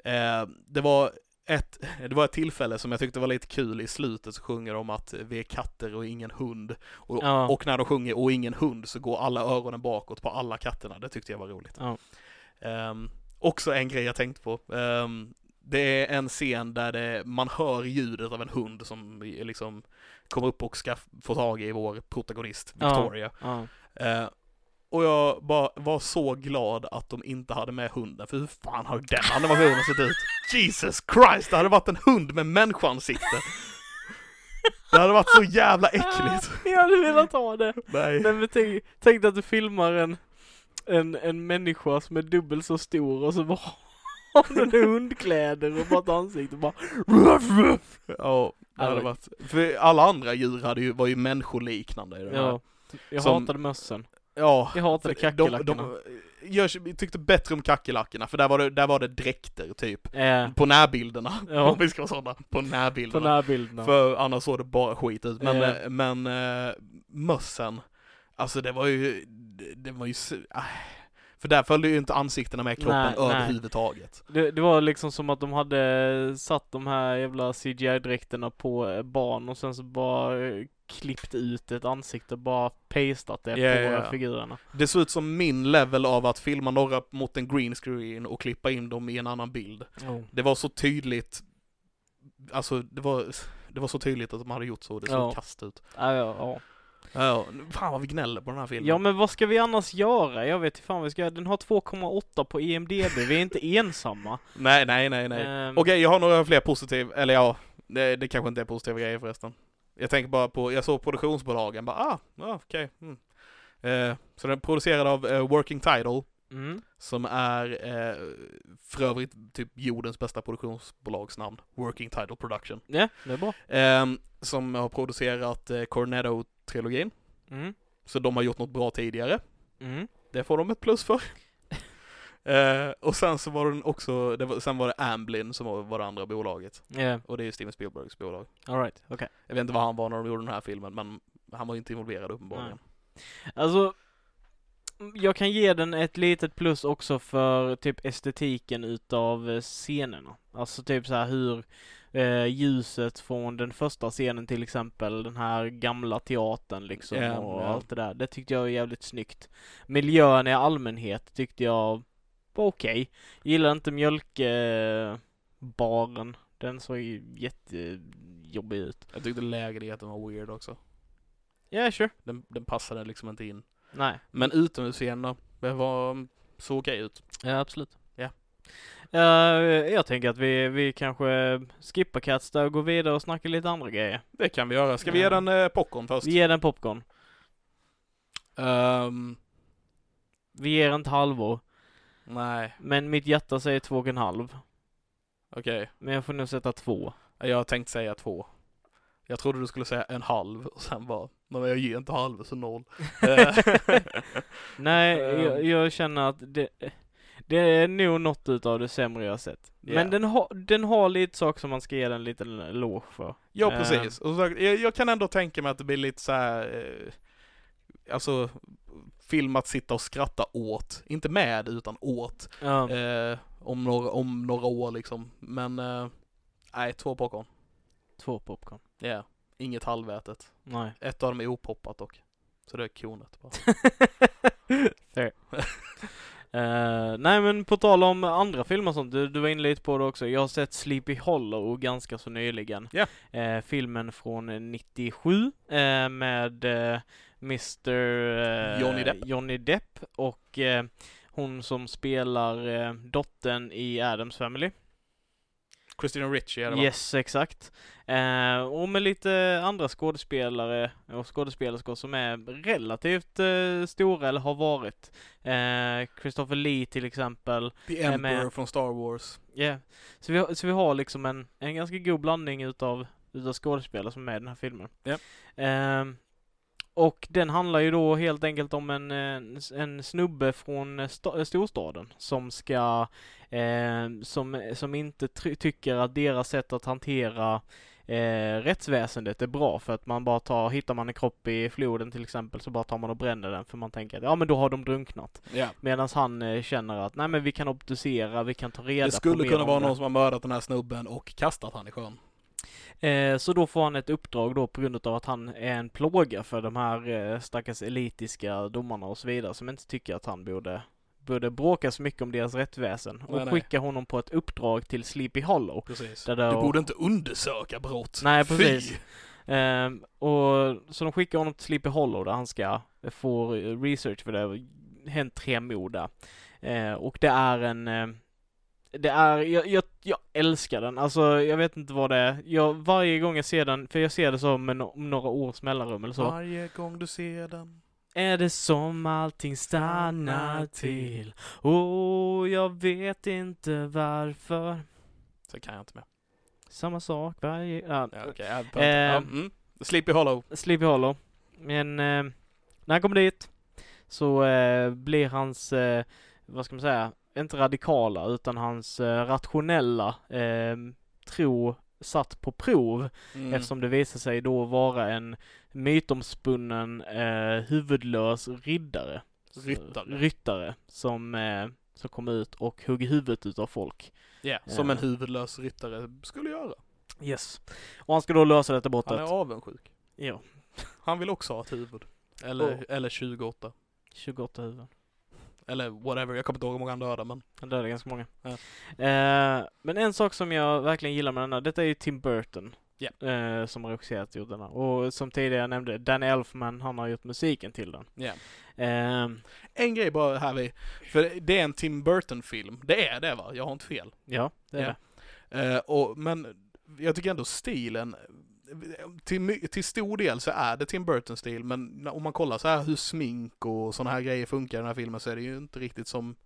C: eh, det var ett, [laughs] det var ett tillfälle som jag tyckte var lite kul i slutet så sjunger de att vi är katter och ingen hund. Och,
B: Ja.
C: och när de sjunger och ingen hund så går alla öronen bakåt på alla katterna. Det tyckte jag var roligt.
B: Ja.
C: Ehm, också en grej jag tänkt på. Ehm, det är en scen där det, man hör ljudet av en hund som liksom kommer upp och ska få tag i vår protagonist
B: Ja.
C: Victoria.
B: Ja.
C: Eh, Och jag bara var så glad att de inte hade med hunden, för hur fan har den animationen sett ut? Jesus Christ, det hade varit en hund
B: [laughs]
C: med människansikte! [laughs] Det hade varit så jävla äckligt!
B: [laughs] Jag hade velat ha det.
C: Nej.
B: Nej men tänk, tänk dig att du filmar en, en, en människa som är dubbelt så stor och så bara har [laughs] den hundkläder och bara ett ansikte och bara
C: Ja, det hade
B: Alltså-
C: varit... För alla andra djur hade ju, var ju människoliknande i den här.
B: Ja. Jag
C: Som-
B: hatade mössen.
C: Ja.
B: Jag hatade
C: För de,
B: kackerlackorna.
C: de, jag tyckte bättre om kackerlackorna, för där var det, där var det dräkter, typ.
B: Eh,
C: På närbilderna,
B: Ja.
C: [laughs] om vi ska vara sådana. På
B: på
C: närbilderna.
B: närbilderna.
C: För annars såg det bara skit ut. Men,
B: Eh.
C: eh. men eh, mössen, alltså det var ju, det, det var ju, s- ah. för där följde ju inte ansiktena med kroppen
B: Nej, nej.
C: överhuvudtaget.
B: Det, det var liksom som att de hade satt de här jävla CGI-dräkterna på eh, barn och sen så bara eh, klippt ut ett ansikte och bara pastat det
C: Ja,
B: på
C: ja, ja.
B: figurerna.
C: Det såg ut som min level av att filma några mot en green screen och klippa in dem i en annan bild. Det var så tydligt, alltså det var, det var så tydligt att de hade gjort så, det såg
B: Ja.
C: kast ut.
B: Ja, ja, ja.
C: Ja, fan vad vi gnäller på den här filmen.
B: ja men vad ska vi annars göra? Jag vet inte fan vad vi ska göra. Den har 2,8 på IMDB, vi är inte ensamma.
C: Nej, nej, nej, nej.
B: Ehm,
C: Okej, jag har några fler positiva, eller ja, det, det kanske inte är positiva grejer förresten. Jag tänker bara på, jag såg produktionsbolagen, bara ah, ja, okej. mm. Eh, så den är producerad av eh, Working Title,
B: mm.
C: som är eh, för övrigt typ jordens bästa produktionsbolagsnamn, Working Title Production.
B: Ja, det är bra.
C: Ehm, som har producerat eh, Cornetto-trilogin,
B: Mm.
C: så de har gjort något bra tidigare.
B: Mm.
C: Det får de ett plus [laughs] för. Eh, och sen så var den också, det var, sen var det Amblin som var, var det andra bolaget.
B: Yeah.
C: Och det är ju Steven Spielbergs bolag.
B: Alright, okej.
C: Jag vet inte vad han var när de gjorde den här filmen, men han var ju inte involverad uppenbarligen.
B: Alltså, jag kan ge den ett litet plus också för typ estetiken utav eh, scenerna. Alltså typ så här hur eh, ljuset från den första scenen till exempel, den här gamla teatern liksom
C: Ja,
B: och
C: ja.
B: allt det där. Det tyckte jag var jävligt snyggt. Miljön i allmänhet tyckte jag var okej. Gillar inte mjölkbaren. Den såg ju jättejobbig ut.
C: Jag tyckte lägenheten var weird också.
B: Ja, yeah, sure.
C: Den, den passade liksom inte in.
B: Nej.
C: Men utomhusscenerna, det var, såg okej ut.
B: Ja, absolut.
C: Ja.
B: Eh, jag tänker att vi, vi kanske skippar Cats där och går vidare och snackar lite andra grejer.
C: Det kan vi göra. Ska vi
B: Ja.
C: ge den eh, popcorn först?
B: Vi ger den popcorn.
C: Ehm,
B: Vi ger inte halvor.
C: nej,
B: Men mitt hjärta säger två och en halv.
C: okej.
B: Men jag får nog sätta
C: [laughs]
B: två.
C: Jag tänkte säga två. Jag trodde du skulle säga en halv och sen bara, men jag ger inte halv så noll. Eh,
B: Nej,
C: Ehm.
B: jag, jag känner att det, det är nog något utav det sämre jag har sett.
C: Ja.
B: Men den, har den har lite saker som man ska ge den en liten eloge för.
C: ja,
B: Ehm.
C: precis. Och så, jag, jag kan ändå tänka mig att det blir lite så här, eh, alltså, film att sitta och skratta åt. Inte med, utan åt.
B: Ja.
C: Eh, om, några, om några år liksom. Men eh, nej, två popcorn.
B: Två popcorn.
C: Ja, inget halvätet.
B: Nej.
C: Ett av dem är opoppat dock. Så det är konet bara.
B: [laughs] Fair. Eh, nej men på tal om andra filmer och sånt, du, du var inne lite på det också. Jag har sett Sleepy Hollow ganska så nyligen.
C: Ja.
B: Eh, filmen från 97 eh, med eh, Mr eh,
C: Johnny Depp.
B: Johnny Depp och eh, hon som spelar eh, dottern i Adams Family.
C: Christina Ricci är det va?
B: Yes, exakt. Eh, och med lite andra skådespelare och skådespelerskor som är relativt eh, stora eller har varit. Eh, Christopher Lee till exempel.
C: The
B: är
C: Emperor
B: med.
C: från Star Wars.
B: Yeah. Så, vi har, så vi har liksom en, en ganska god blandning utav, utav skådespelare som är med i den här filmen.
C: Ja.
B: Ehm, och den handlar ju då helt enkelt om en, eh, en snubbe från sta- storstaden som ska, eh, som, som inte try- tycker att deras sätt att hantera eh, rättsväsendet är bra för att man bara tar, hittar man en kropp i floden till exempel så bara tar man och bränner den för man tänker att ja men då har de drunknat.
C: Ja.
B: Medan han eh, känner att nej men vi kan obducera, vi kan ta reda
C: Det
B: på
C: skulle
B: mer
C: kunna
B: om
C: vara
B: det.
C: någon som har mördat den här snubben och kastat han i sjön.
B: Eh, så då får han ett uppdrag då på grund av att han är en plåga för de här eh, stackars elitiska domarna och så vidare som inte tycker att han borde borde bråka så mycket om deras rättväsen och
C: Nej, nej.
B: skicka honom på ett uppdrag till Sleepy Hollow.
C: Precis.
B: Där det-
C: Du borde inte undersöka brott.
B: Nej,
C: Fy!
B: precis. Ehm, och, så de skickar honom till Sleepy Hollow där han ska få eh, research för det, hänt tre mord där. Eh, och det är en eh, det är, jag, jag, jag älskar den, alltså jag vet inte vad det är. Jag, varje gång jag ser den, för jag ser det som en, om några års mellanrum eller så.
C: Varje gång du ser den.
B: Är det som allting stannar till? Oh, jag vet inte varför.
C: Så kan jag inte med.
B: Samma sak varje... Ja,
C: Ja, okay, jag behöver inte- ja,
B: Ehm.
C: mm. Sleepy Hollow.
B: Sleepy Hollow. Men eh, när han kommer dit så eh, blir hans, eh, vad ska man säga, inte radikala utan hans eh, rationella eh, tro satt på prov
C: Mm.
B: eftersom det visar sig då vara en mytomspunnen eh, huvudlös riddare.
C: Ryttare.
B: Ryttare som, eh, som kom ut och hugg huvudet utav folk.
C: Ja, Som en
B: Ja.
C: huvudlös ryttare skulle göra.
B: Yes. Och han ska då lösa detta
C: Han
B: brottet.
C: är avundsjuk.
B: Ja,
C: Han vill också ha ett huvud. Eller,
B: Oh.
C: eller 28.
B: 28 huvuden.
C: Eller whatever, jag kommer inte ihåg hur många han dödade men.
B: Han dödade ganska många.
C: Ja.
B: Eh, men en sak som jag verkligen gillar med denna, detta är ju Tim Burton.
C: Ja.
B: eh, som har regisserat gjort denna. Och som tidigare nämnde, Danny Elfman, han har gjort musiken till den.
C: Ja.
B: Ehm,
C: En grej bara här vi, för det är en Tim Burton-film. Det är det va? Jag har inte fel.
B: ja, det är
C: Ja.
B: det.
C: Eh, och, men jag tycker ändå stilen, till, my- till stor del så är det Tim Burton-stil, men när- om man kollar så här hur smink och sådana här grejer funkar i den här filmen så är det ju inte riktigt som,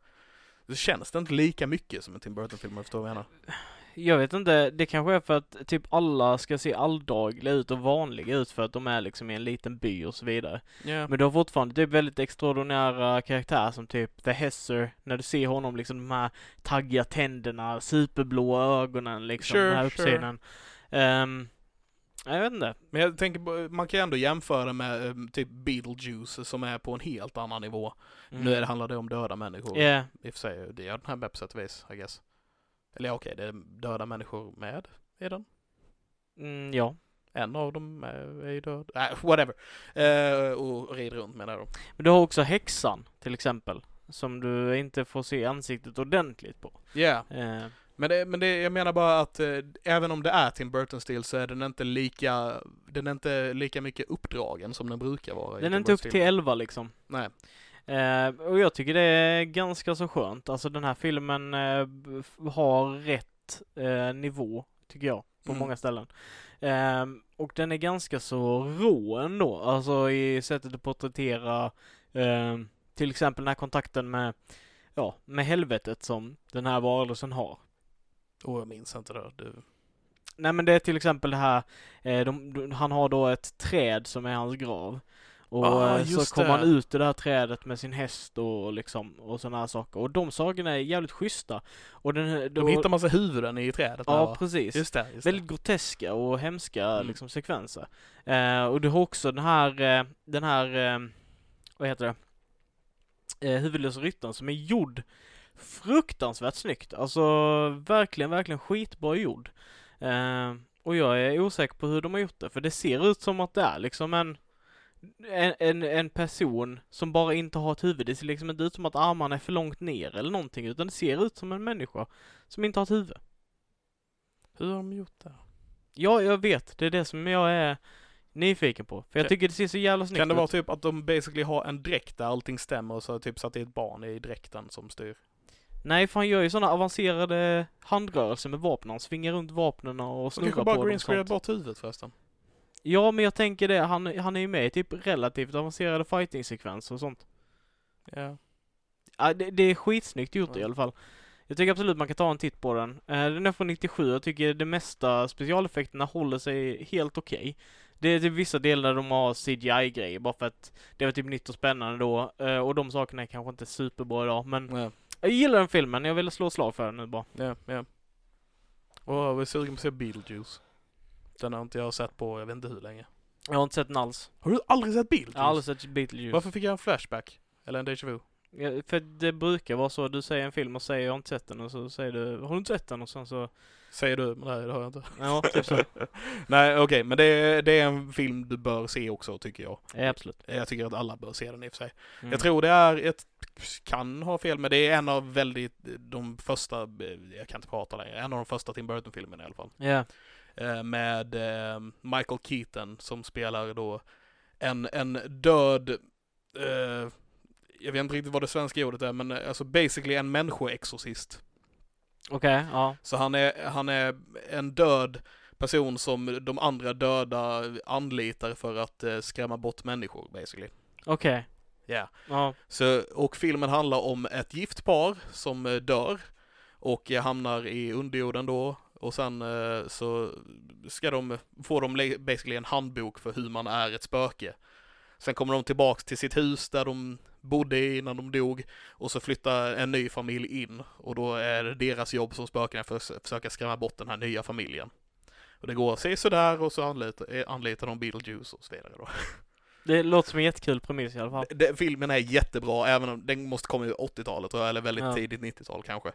C: det känns det inte lika mycket som en Tim Burton-film om jag förstår vad jag menar.
B: Jag vet inte, det kanske är för att typ alla ska se alldagliga ut och vanliga ut för att de är liksom i en liten by och så vidare. Men du har fortfarande typ väldigt extraordinära karaktärer som typ The Hesser, när du ser honom liksom de här taggiga tänderna, superblå ögonen liksom,
C: Sure,
B: den här
C: sure.
B: uppsynen. Ehm, jag vet inte.
C: Men jag tänker, på- man kan ju ändå jämföra med eh, typ Beetlejuice som är på en helt annan nivå.
B: Mm.
C: Nu är det, handlar det om döda människor.
B: Ja,
C: I och för sig, det gör den här med på sätt och vis, I guess. Eller ja, okej, det är döda människor med i den.
B: mm, ja.
C: En av dem eh, är är ju död. Äh, whatever. Eh, och rider runt menar de.
B: Men du har också häxan till exempel, som du inte får se ansiktet ordentligt på.
C: Ja.
B: Ehm,
C: Men, det, men det, jag menar bara att eh, även om det är Tim Burton-stil så är den inte lika, den är inte lika mycket uppdragen som den brukar vara. i
B: den är
C: Tim
B: inte upp
C: Burtons
B: till 11 liksom.
C: Nej.
B: Eh, och jag tycker det är ganska så skönt. Alltså den här filmen eh, b- f- har rätt eh, nivå, tycker jag, på
C: Mm.
B: många ställen. Ehm, och den är ganska så rå ändå, alltså i sättet att porträttera ehm, till exempel den här kontakten med, ja, med helvetet som den här varelsen har.
C: Åh, jag minns inte det. Du.
B: Nej men det är till exempel det här, eh, de, de, han har då ett träd som är hans grav. Och
C: Ah,
B: eh,
C: just
B: så kommer
C: det.
B: han ut ur det här trädet med sin häst och liksom, och sådana här saker. Och de sagorna är jävligt schyssta. Och den,
C: De hittar massa huvuden i trädet. där,
B: Ja
C: va?
B: precis.
C: Just det, just det.
B: Väldigt groteska och hemska
C: Mm.
B: liksom sekvenser. Eh, och du har också den här, eh, den här, eh, vad heter det? Eh, huvudlösa ryttaren som är gjord fruktansvärt snyggt. Alltså verkligen, verkligen skitbra gjord. Eh, och jag är osäker på hur de har gjort det, för det ser ut som att det är liksom en en, en, en person som bara inte har ett huvud. Det ser liksom inte ut som att armarna är för långt ner eller någonting, utan det ser ut som en människa som inte har ett huvud.
C: Hur har de gjort det?
B: Ja, jag vet. Det är det som jag är nyfiken på. För jag
C: Kan-
B: tycker det ser så jävla snyggt
C: Kan det
B: ut.
C: vara typ att de basically har en dräkt där allting stämmer och så typ så att det är ett barn i dräkten som styr?
B: Nej, för han gör ju sådana avancerade handrörelser med vapnen. Han svingar runt vapnen och
C: Så
B: snurrar
C: kanske
B: på
C: bara
B: dem. och
C: greenscreenat
B: sånt.
C: bort huvudet förresten.
B: Ja, men jag tänker det. Han, han är ju med i typ relativt avancerade fighting-sekvenser och sånt.
C: Ja.
B: Ja, det, det är skitsnyggt gjort i
C: Ja.
B: alla fall. Jag tycker absolut man kan ta en titt på den. Eh, Den är från 97. Jag tycker det mesta specialeffekterna håller sig helt okej. Det är typ vissa delar där de har CGI-grejer bara för att det var typ nytt och spännande då. eh, Och de sakerna är kanske inte superbra idag, men
C: Ja,
B: Jag gillar den filmen, jag ville slå ett slag för den nu bara.
C: ja, ja. Och jag är sugen på att se Beetlejuice. Den har inte jag sett på, jag vet inte hur länge.
B: Jag har inte sett den alls.
C: Har du aldrig sett
B: Jag
C: Beetlejuice?
B: har aldrig sett Beetlejuice.
C: Varför fick jag en flashback? Eller en déjà vu?
B: Jag, för det brukar vara så, du säger en film och säger jag har inte sett den och så säger du har du inte sett den och sen så,
C: Säger du, men nej det har jag inte.
B: ja typ [laughs] så.
C: [laughs] Nej okej, men det är, det är en film du bör se också tycker jag.
B: Ja, absolut.
C: Jag tycker att alla bör se den i och för sig.
B: Mm.
C: Jag tror det är ett, kan ha fel, men det är en av väldigt, de första, eh, jag kan inte prata längre, en av de första Tim Burton-filmerna i alla fall.
B: Ja.
C: Eh, Med eh, Michael Keaton som spelar då en, en död eh, jag vet inte riktigt vad det svenska ordet är, men eh, alltså basically en människoexorcist.
B: Okej, ja.
C: Så han är, han är en död person som de andra döda anlitar för att eh, skrämma bort människor basically.
B: Okej.
C: Ja.
B: Ja.
C: Så, och filmen handlar om ett gift par som eh, dör och eh, hamnar i underjorden då och sen eh, så ska de, får de le- basically en handbok för hur man är ett spöke. Sen kommer de tillbaks till sitt hus där de bodde innan de dog och så flyttar en ny familj in och då är det deras jobb som spöken att förs- försöka skrämma bort den här nya familjen. Och det går sig sådär och så anlitar, eh, anlitar de Beetlejuice och så vidare då.
B: Det låter som en jättekul premiss i alla fall.
C: Den filmen är jättebra, även om den måste komma i 80-talet, tror jag, eller väldigt
B: Ja.
C: tidigt 90-tal kanske.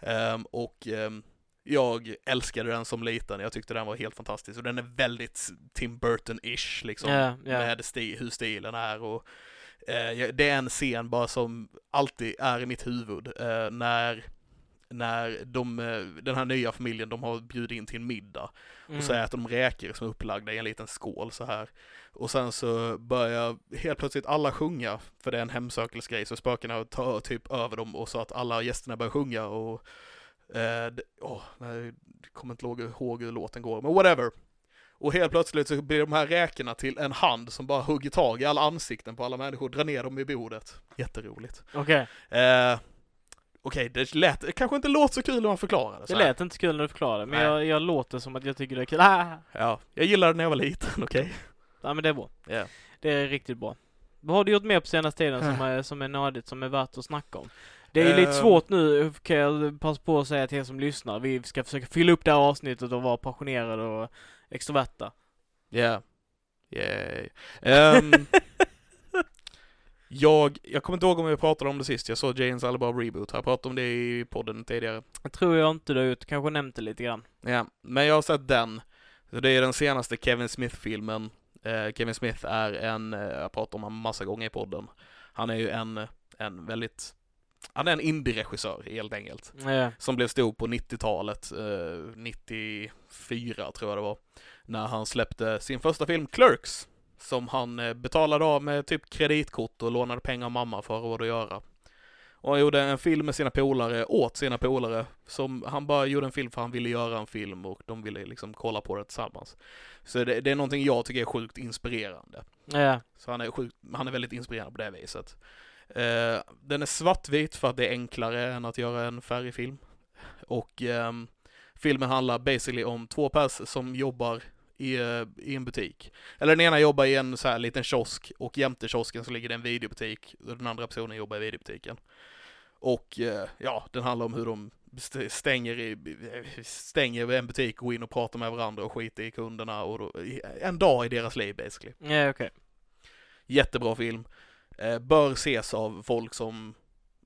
C: Ehm, och ehm, jag älskade den som liten, jag tyckte den var helt fantastisk. Och den är väldigt Tim Burton-ish, liksom.
B: Ja, ja.
C: Med sti- hur stilen är och eh, jag- det är en scen bara som alltid är i mitt huvud. eh, när när de, eh, den här nya familjen, de har bjudit in till en middag. Och så
B: Mm.
C: äter de räkor som är upplagda i en liten skål så här. Och sen så börjar helt plötsligt alla sjunga, för det är en hemsökelsegrej, så spökena tar typ över dem och så att alla gästerna börjar sjunga och... Eh, det, åh, nej, jag kommer inte ihåg- ihåg hur låten går, men whatever. Och helt plötsligt så blir de här räkorna till en hand som bara hugger tag i alla ansikten på alla människor, drar ner dem i bordet. Jätteroligt.
B: Okej.
C: Eh, Okej, det lät, det kanske inte låter så kul när man förklarar det så
B: Det
C: här.
B: lät inte så kul när du förklarade, men
C: Nej.
B: jag, jag låter som att jag tycker det är kul. Ah!
C: Ja, jag gillade det när jag var liten, okej?
B: Ja men det är bra.
C: Ja.
B: Det är riktigt bra. Vad har du gjort mer på senaste tiden som
C: Äh.
B: är, som är nödigt, som är värt att snacka om? Det är ju lite
C: Ehm.
B: svårt nu, kan jag passa på att säga till er som lyssnar. Vi ska försöka fylla upp det här avsnittet och vara passionerade och extroverta.
C: Ja. Yay. Ehm, [laughs] jag, jag kommer inte ihåg om vi pratade om det sist, jag såg Janes Alibab Reboot, jag pratade om det i podden tidigare.
B: [laughs] Jag tror jag inte du har gjort, kanske nämnt det lite grann.
C: Ja, men jag har sett den. Så det är den senaste Kevin Smith-filmen. Eh, Kevin Smith är en, eh, jag pratar om honom massa gånger i podden, han är ju en, en väldigt, han är en indie-regissör helt enkelt
B: Ja,
C: [laughs] som blev stor på 90-talet, eh, 94 tror jag det var, när han släppte sin första film Clerks, som han eh, betalade av med typ kreditkort och lånade pengar av mamma för att ha råd att göra. Och han gjorde en film med sina polare, åt sina polare, som han bara gjorde en film för han ville göra en film och de ville liksom kolla på det tillsammans. Så det, det är någonting jag tycker är sjukt inspirerande.
B: ja,
C: Så han är, sjukt, han är väldigt inspirerande på det viset. Eh, den är svartvit för att det är enklare än att göra en färgfilm. Och ehm, filmen handlar basically om två pers som jobbar i, eh, i en butik. Eller den ena jobbar i en så här liten kiosk och jämte kiosken så ligger det en videobutik och den andra personen jobbar i videobutiken. Och eh, ja, den handlar om hur de st- stänger, i, stänger en butik, går in och pratar med varandra och skiter i kunderna och då, en dag i deras liv basically.
B: ja okej.
C: Jättebra film. Eh, bör ses av folk som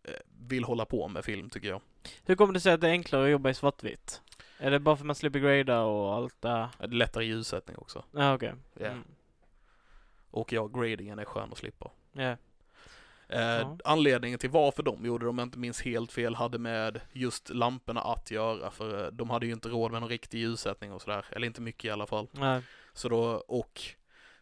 C: eh, vill hålla på med film tycker jag.
B: Hur kommer det sig att det är enklare att jobba i svartvitt? Är det bara för att man slipper grada och allt det här?
C: Eh, Lättare ljussättning också.
B: Ja okej.
C: Ja.
B: Mm.
C: Och ja, gradingen är skön att slippa.
B: Ja.
C: Eh,
B: Ja.
C: Anledningen till varför de gjorde det, om jag inte minns helt fel, hade med just lamporna att göra. För eh, de hade ju inte råd med någon riktig ljussättning och sådär. Eller inte mycket i alla fall.
B: Nej.
C: Så då, och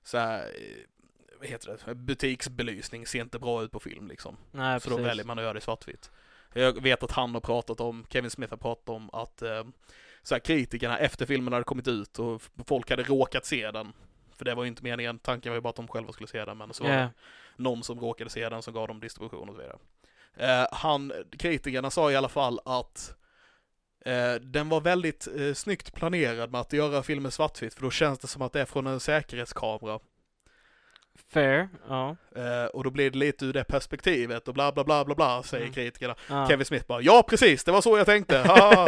C: så här, eh, vad heter det, butiksbelysning ser inte bra ut på film liksom.
B: Nej,
C: så då
B: precis.
C: väljer man att göra det i svartvitt. Jag vet att han har pratat om, Kevin Smith har pratat om att eh, så här, kritikerna efter filmen hade kommit ut och f- folk hade råkat se den. För det var ju inte meningen, tanken var ju bara att de själva skulle se den men så var
B: Ja.
C: det någon som råkade se den som gav dem distribution och så vidare. Eh, han, kritikerna sa i alla fall att eh, den var väldigt eh, snyggt planerad med att göra filmen svartvitt för då känns det som att det är från en säkerhetskamera.
B: Fair. Ja.
C: Eh, och då blir det lite ur det perspektivet och bla bla bla bla bla säger
B: Mm.
C: kritikerna.
B: ja.
C: Kevin Smith bara ja precis, det var så jag [laughs] tänkte.
B: [laughs]
C: Ha!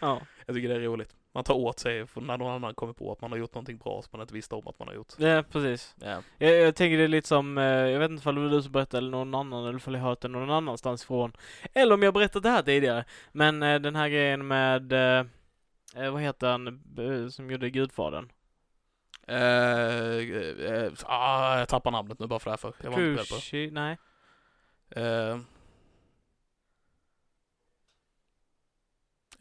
B: Ja.
C: jag tycker det är roligt. Man tar åt sig för när någon annan kommer på att man har gjort någonting bra som man inte visste om att man har gjort.
B: Ja, precis. Jag, jag tänker det är lite som, eh, jag vet inte om det var du som berättade eller någon annan, eller om jag hört det någon annanstans ifrån. Eller om jag berättat det här tidigare. Men eh, den här grejen med, eh, eh, vad heter han eh, som gjorde Gudfadern?
C: Eh, eh, ah, jag tappar namnet nu bara för det här för jag var inte beredd på det.
B: Kushi? Nej.
C: Eh,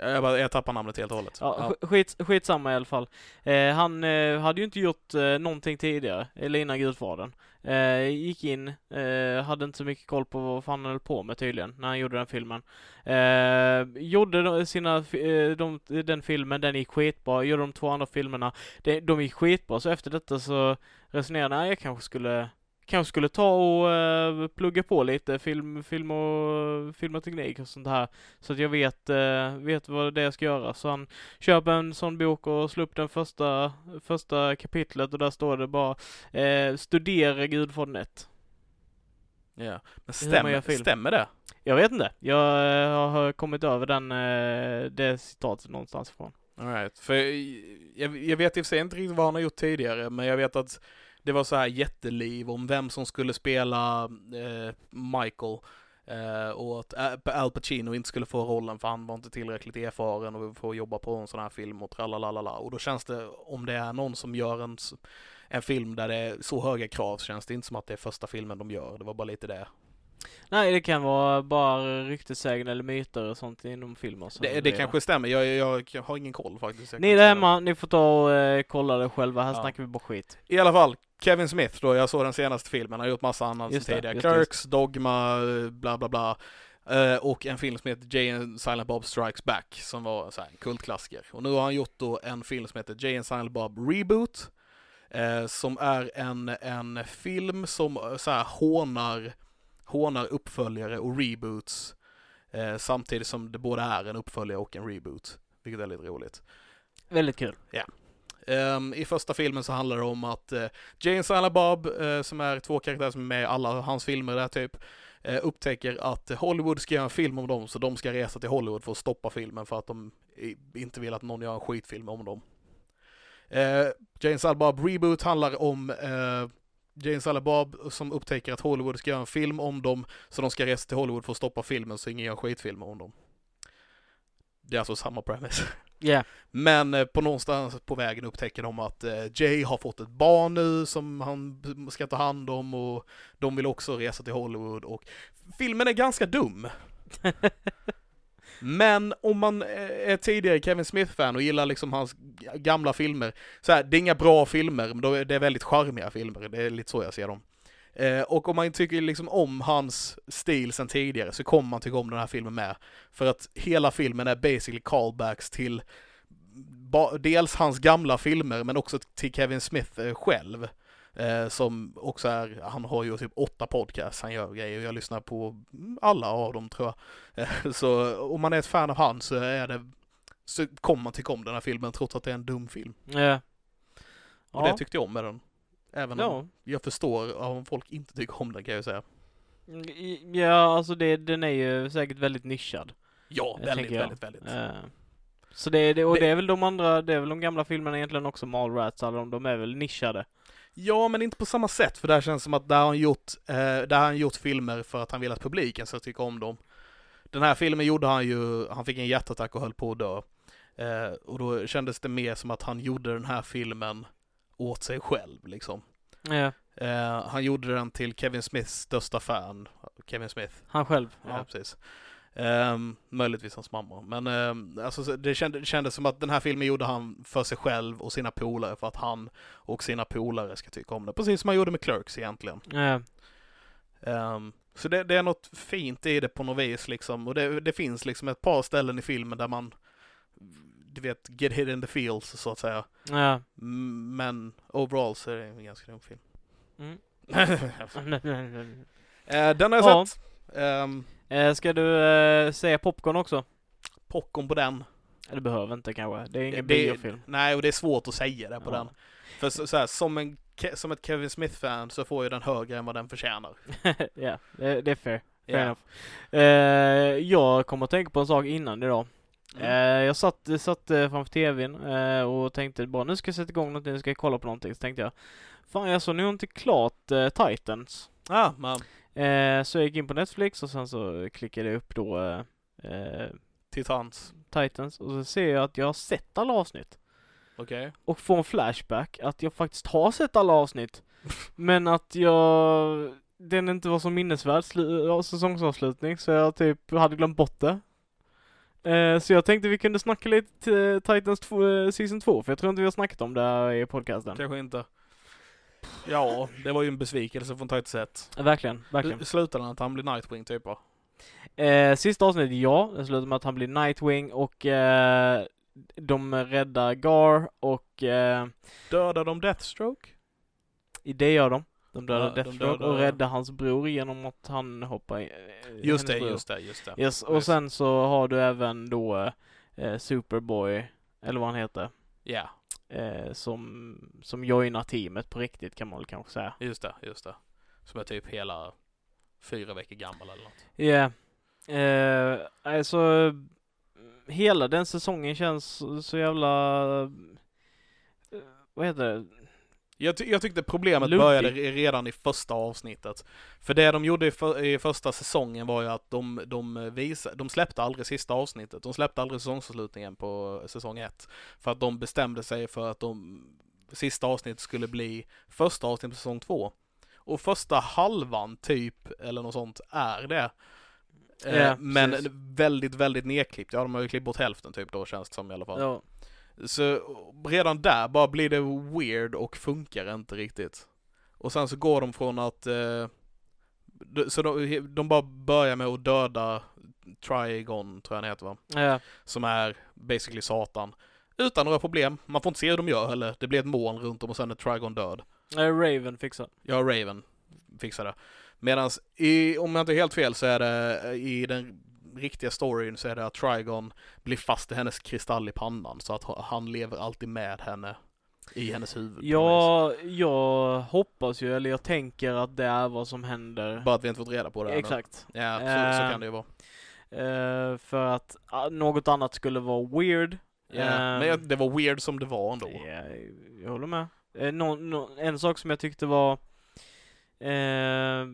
C: Jag, bara, jag tappar namnet helt och hållet.
B: Ja, sk- Skit, skitsamma i alla fall. Eh, han eh, hade ju inte gjort eh, någonting tidigare, eller innan Gudfadern. Eh, gick in, eh, hade inte så mycket koll på vad fan han höll på med tydligen, när han gjorde den filmen. Eh, gjorde de- sina, fi- eh, de, den filmen, den gick skitbra. Gjorde de två andra filmerna, de, de gick skitbra. Så efter detta så resonerade han, "Nej, jag kanske skulle Kanske skulle ta och eh, plugga på lite film, film och film och teknik och sånt här. Så att jag vet, eh, vet vad det är jag ska göra. Så han köp en sån bok och slå upp den första, första kapitlet och där står det bara eh, studera Gudfadern 1.
C: Ja. Men
B: Hur man gör
C: stämmer,
B: film.
C: stämmer det?
B: Jag vet inte. Jag eh, har kommit över den, eh, det citatet någonstans ifrån.
C: All right. För jag, jag vet i och för sig inte riktigt vad han har gjort tidigare, men jag vet att det var så här jätteliv om vem som skulle spela eh, Michael. eh, och att Al- Al Pacino inte skulle få rollen för han var inte tillräckligt erfaren och få jobba på en sån här film och tralalala. Och då känns det, om det är någon som gör en, s- en film där det är så höga krav så känns det inte som att det är första filmen de gör. Det var bara lite det.
B: Nej, det kan vara bara ryktessägen eller myter och sånt inom filmer. som
C: Det, det
B: blir-
C: kanske stämmer, jag, jag, jag har ingen koll faktiskt. Jag
B: Ni
C: kan inte
B: där
C: säga.
B: hemma, ni får ta och eh, kolla det själva. Här
C: Ja.
B: snackar vi bara skit.
C: I alla fall, Kevin Smith då, jag såg den senaste filmen, han har gjort massa annat
B: Just det,
C: tidigare.
B: just det,
C: Clerks, Dogma, eh, bla bla bla. Eh, och en film som heter Jay and Silent Bob Strikes Back, som var så här, en kultklassiker. Och nu har han gjort då en film som heter Jay and Silent Bob Reboot, eh, som är en, en film som eh, så här, hånar, hånar uppföljare och reboots, eh, samtidigt som det både är en uppföljare och en reboot, vilket är lite roligt.
B: Väldigt kul.
C: Ehm, I första filmen så handlar det om att uh, Jane Silent Bob, eh, som är två karaktärer som är med i alla hans filmer där typ, eh, upptäcker att Hollywood ska göra en film om dem, så de ska resa till Hollywood för att stoppa filmen för att de i- inte vill att någon gör en skitfilm om dem. Eh, Jane Silent Bob Reboot handlar om eh, Jane Silent Bob som upptäcker att Hollywood ska göra en film om dem, så de ska resa till Hollywood för att stoppa filmen så ingen gör en skitfilm om dem. Det är alltså samma premise.
B: Yeah.
C: Men eh, på någonstans på vägen upptäcker de att eh, Jay har fått ett barn nu som han b- ska ta hand om och de vill också resa till Hollywood och filmen är ganska dum. Men om man eh, är tidigare Kevin Smith-fan och gillar liksom hans g- gamla filmer, så här, det är inga bra filmer, men då är- det är väldigt charmiga filmer, det är lite så jag ser dem. Eh, och om man tycker liksom om hans stil sen tidigare så kommer man tycka om den här filmen med. För att hela filmen är basically callbacks till ba- dels hans gamla filmer men också till Kevin Smith eh, själv. Eh, som också är, han har ju typ åtta podcasts han gör och grejer och jag lyssnar på alla av dem tror jag. [laughs] Eh, så om man är ett fan av han så är det så kommer man tycka om den här filmen trots att det är en dum film.
B: Yeah.
C: Och det
B: Ja.
C: tyckte jag om med den. Även om
B: Ja.
C: jag förstår om folk inte tycker om den kan jag ju säga.
B: Mm, i- ja, alltså det, den är ju säkert väldigt nischad.
C: Ja,
B: Det
C: väldigt,
B: tänker jag.
C: väldigt, väldigt.
B: Eh, Så det är det, och
C: Det-
B: det är väl de andra, det är väl de gamla filmerna egentligen också, Mallrats, alla de, de är väl nischade.
C: Ja, men inte på samma sätt, för där känns det som att där har han gjort, eh, där har han gjort filmer för att han vill att publiken ska tycka om dem. Den här filmen gjorde han ju, han fick en hjärtattack och höll på att dö. Eh, och då kändes det mer som att han gjorde den här filmen åt sig själv, liksom.
B: Ja,
C: Eh, han gjorde den till Kevin Smiths största fan, Kevin Smith.
B: han själv.
C: Ja,
B: Ja.
C: precis. Ehm, möjligtvis hans mamma. Men ehm, alltså, så det, kände, det kändes som att den här filmen gjorde han för sig själv och sina polare för att han och sina polare ska tycka om det. Precis som han gjorde med Clerks egentligen.
B: Ja.
C: Ehm, så det, det är något fint i det på något vis liksom. Och det, det finns liksom ett par ställen i filmen där man, du vet, get hit in the feels så att säga.
B: Ja.
C: Mm, Men overall så är det en ganska dum film. [laughs]
B: Mm.
C: uh, den har jag
B: Ja.
C: sett. Ehm,
B: [laughs] Eh, Ska du eh, säga popcorn också?
C: popcorn på den.
B: Eh, Det behöver inte kanske, det är ingen
C: Det-
B: biofilm.
C: Nej, och det är svårt att säga det på
B: Ja.
C: den. För så, så här, som, en, Ke- som ett Kevin Smith-fan så får ju den högre än vad den förtjänar.
B: [laughs] Ja, det, det är fair. fair
C: Ja.
B: enough. Eh, jag kommer att tänka på en sak innan idag.
C: Mm.
B: Eh, jag satt, satt eh, framför tvn eh, och tänkte bara nu ska jag sätta igång någonting, nu ska jag kolla på någonting. Så tänkte jag, fan jag såg nog inte klart eh, Titans.
C: Ah, man.
B: Eh, så jag gick in på Netflix och sen så klickade jag upp då eh, eh,
C: Titans.
B: Titans och så ser jag att jag har sett alla avsnitt.
C: Okej.
B: Och får en flashback att jag faktiskt har sett alla avsnitt. men att jag... Den inte var så minnesvärd slu- ja, säsongsavslutning så jag typ hade glömt bort det. Eh, Så jag tänkte vi kunde snacka lite eh, Titans 2, eh, Season 2, för jag tror inte vi har snackat om det här i podcasten.
C: Kanske inte. Ja, det var ju en besvikelse från Titus 1.
B: Eh, Verkligen, verkligen.
C: Slutade han att han blir Nightwing typ va?
B: Eh, sista avsnittet, ja. Det slutar med att han blir Nightwing och eh, de räddar Gar och eh,
C: Dödar de Deathstroke?
B: i det gör de. De
C: Ja,
B: dödar
C: de
B: Deathstroke
C: dödar-
B: och räddar hans bror genom att han hoppar i, eh,
C: Just det,
B: hennes bror.
C: just det, just det.
B: Yes, och
C: Precis.
B: sen så har du även då eh, Superboy, eller vad han heter,
C: Ja,
B: eh, som, som joinar teamet på riktigt kan man väl kanske säga.
C: just det, just det. Som är typ hela fyra veckor gammal eller något.
B: Ja. Yeah. alltså, eh, hela den säsongen känns så- så jävla... eh, vad heter det?
C: Jag, ty- jag tyckte problemet
B: Lumpig.
C: började re- redan i första avsnittet. För det de gjorde i, för, i första säsongen var ju att de, de, eh, visa, de släppte aldrig sista avsnittet. De släppte aldrig säsongsavslutningen på eh, säsong ett. För att de bestämde sig för att de sista avsnittet skulle bli första avsnittet på säsong två. Och första halvan typ, eller något sånt, är det. Eh,
B: Ja,
C: Men
B: precis.
C: väldigt, väldigt nedklippt. Ja, de har ju klippt bort hälften typ då känns det som i alla fall.
B: Ja.
C: Så redan där bara blir det weird och funkar inte riktigt. Och sen så går de från att... Eh, d- så de, de bara börjar med att döda Trigon, tror jag han heter va?
B: Ja.
C: Som är basically Satan. Utan några problem. Man får inte se hur de gör heller. Det blir ett moln runt om och sen är Trigon död.
B: Eh, Raven fixar.
C: Ja, Raven fixar det. Medan i, om jag inte är helt fel så är det i den riktiga storyn så är det att Trigon blir fast i hennes kristall i pannan så att ha- han lever alltid med henne i hennes huvud. på något
B: Ja, jag hoppas ju, eller jag tänker att det är vad som händer.
C: vis. Bara att vi inte fått reda på det ännu.
B: Exakt.
C: Ja, så, så
B: Eh,
C: kan det ju vara.
B: Eh, för att ah, något annat skulle vara weird.
C: Ja,
B: ehm,
C: men jag, det var weird som det var ändå.
B: Ja, jag håller med. Eh, nå- nå- en sak som jag tyckte var eh,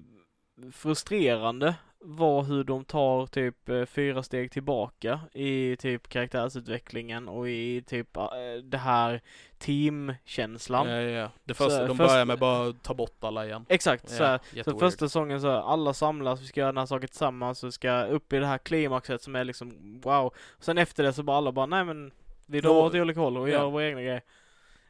B: frustrerande var hur de tar typ eh, fyra steg tillbaka i typ karaktärsutvecklingen och i typ eh, det här teamkänslan.
C: Ja, ja, ja. Det
B: Så
C: första, de
B: först-
C: börjar med bara att ta bort alla igen.
B: Exakt, så här, så
C: jätteweird.
B: första säsongen så här, alla samlas, vi ska göra den här saken tillsammans, vi ska upp i det här klimaxet som är liksom wow. Sen efter det så bara alla bara nej men vi
C: Då-
B: drar åt olika håll och
C: ja.
B: gör våra egna grejer.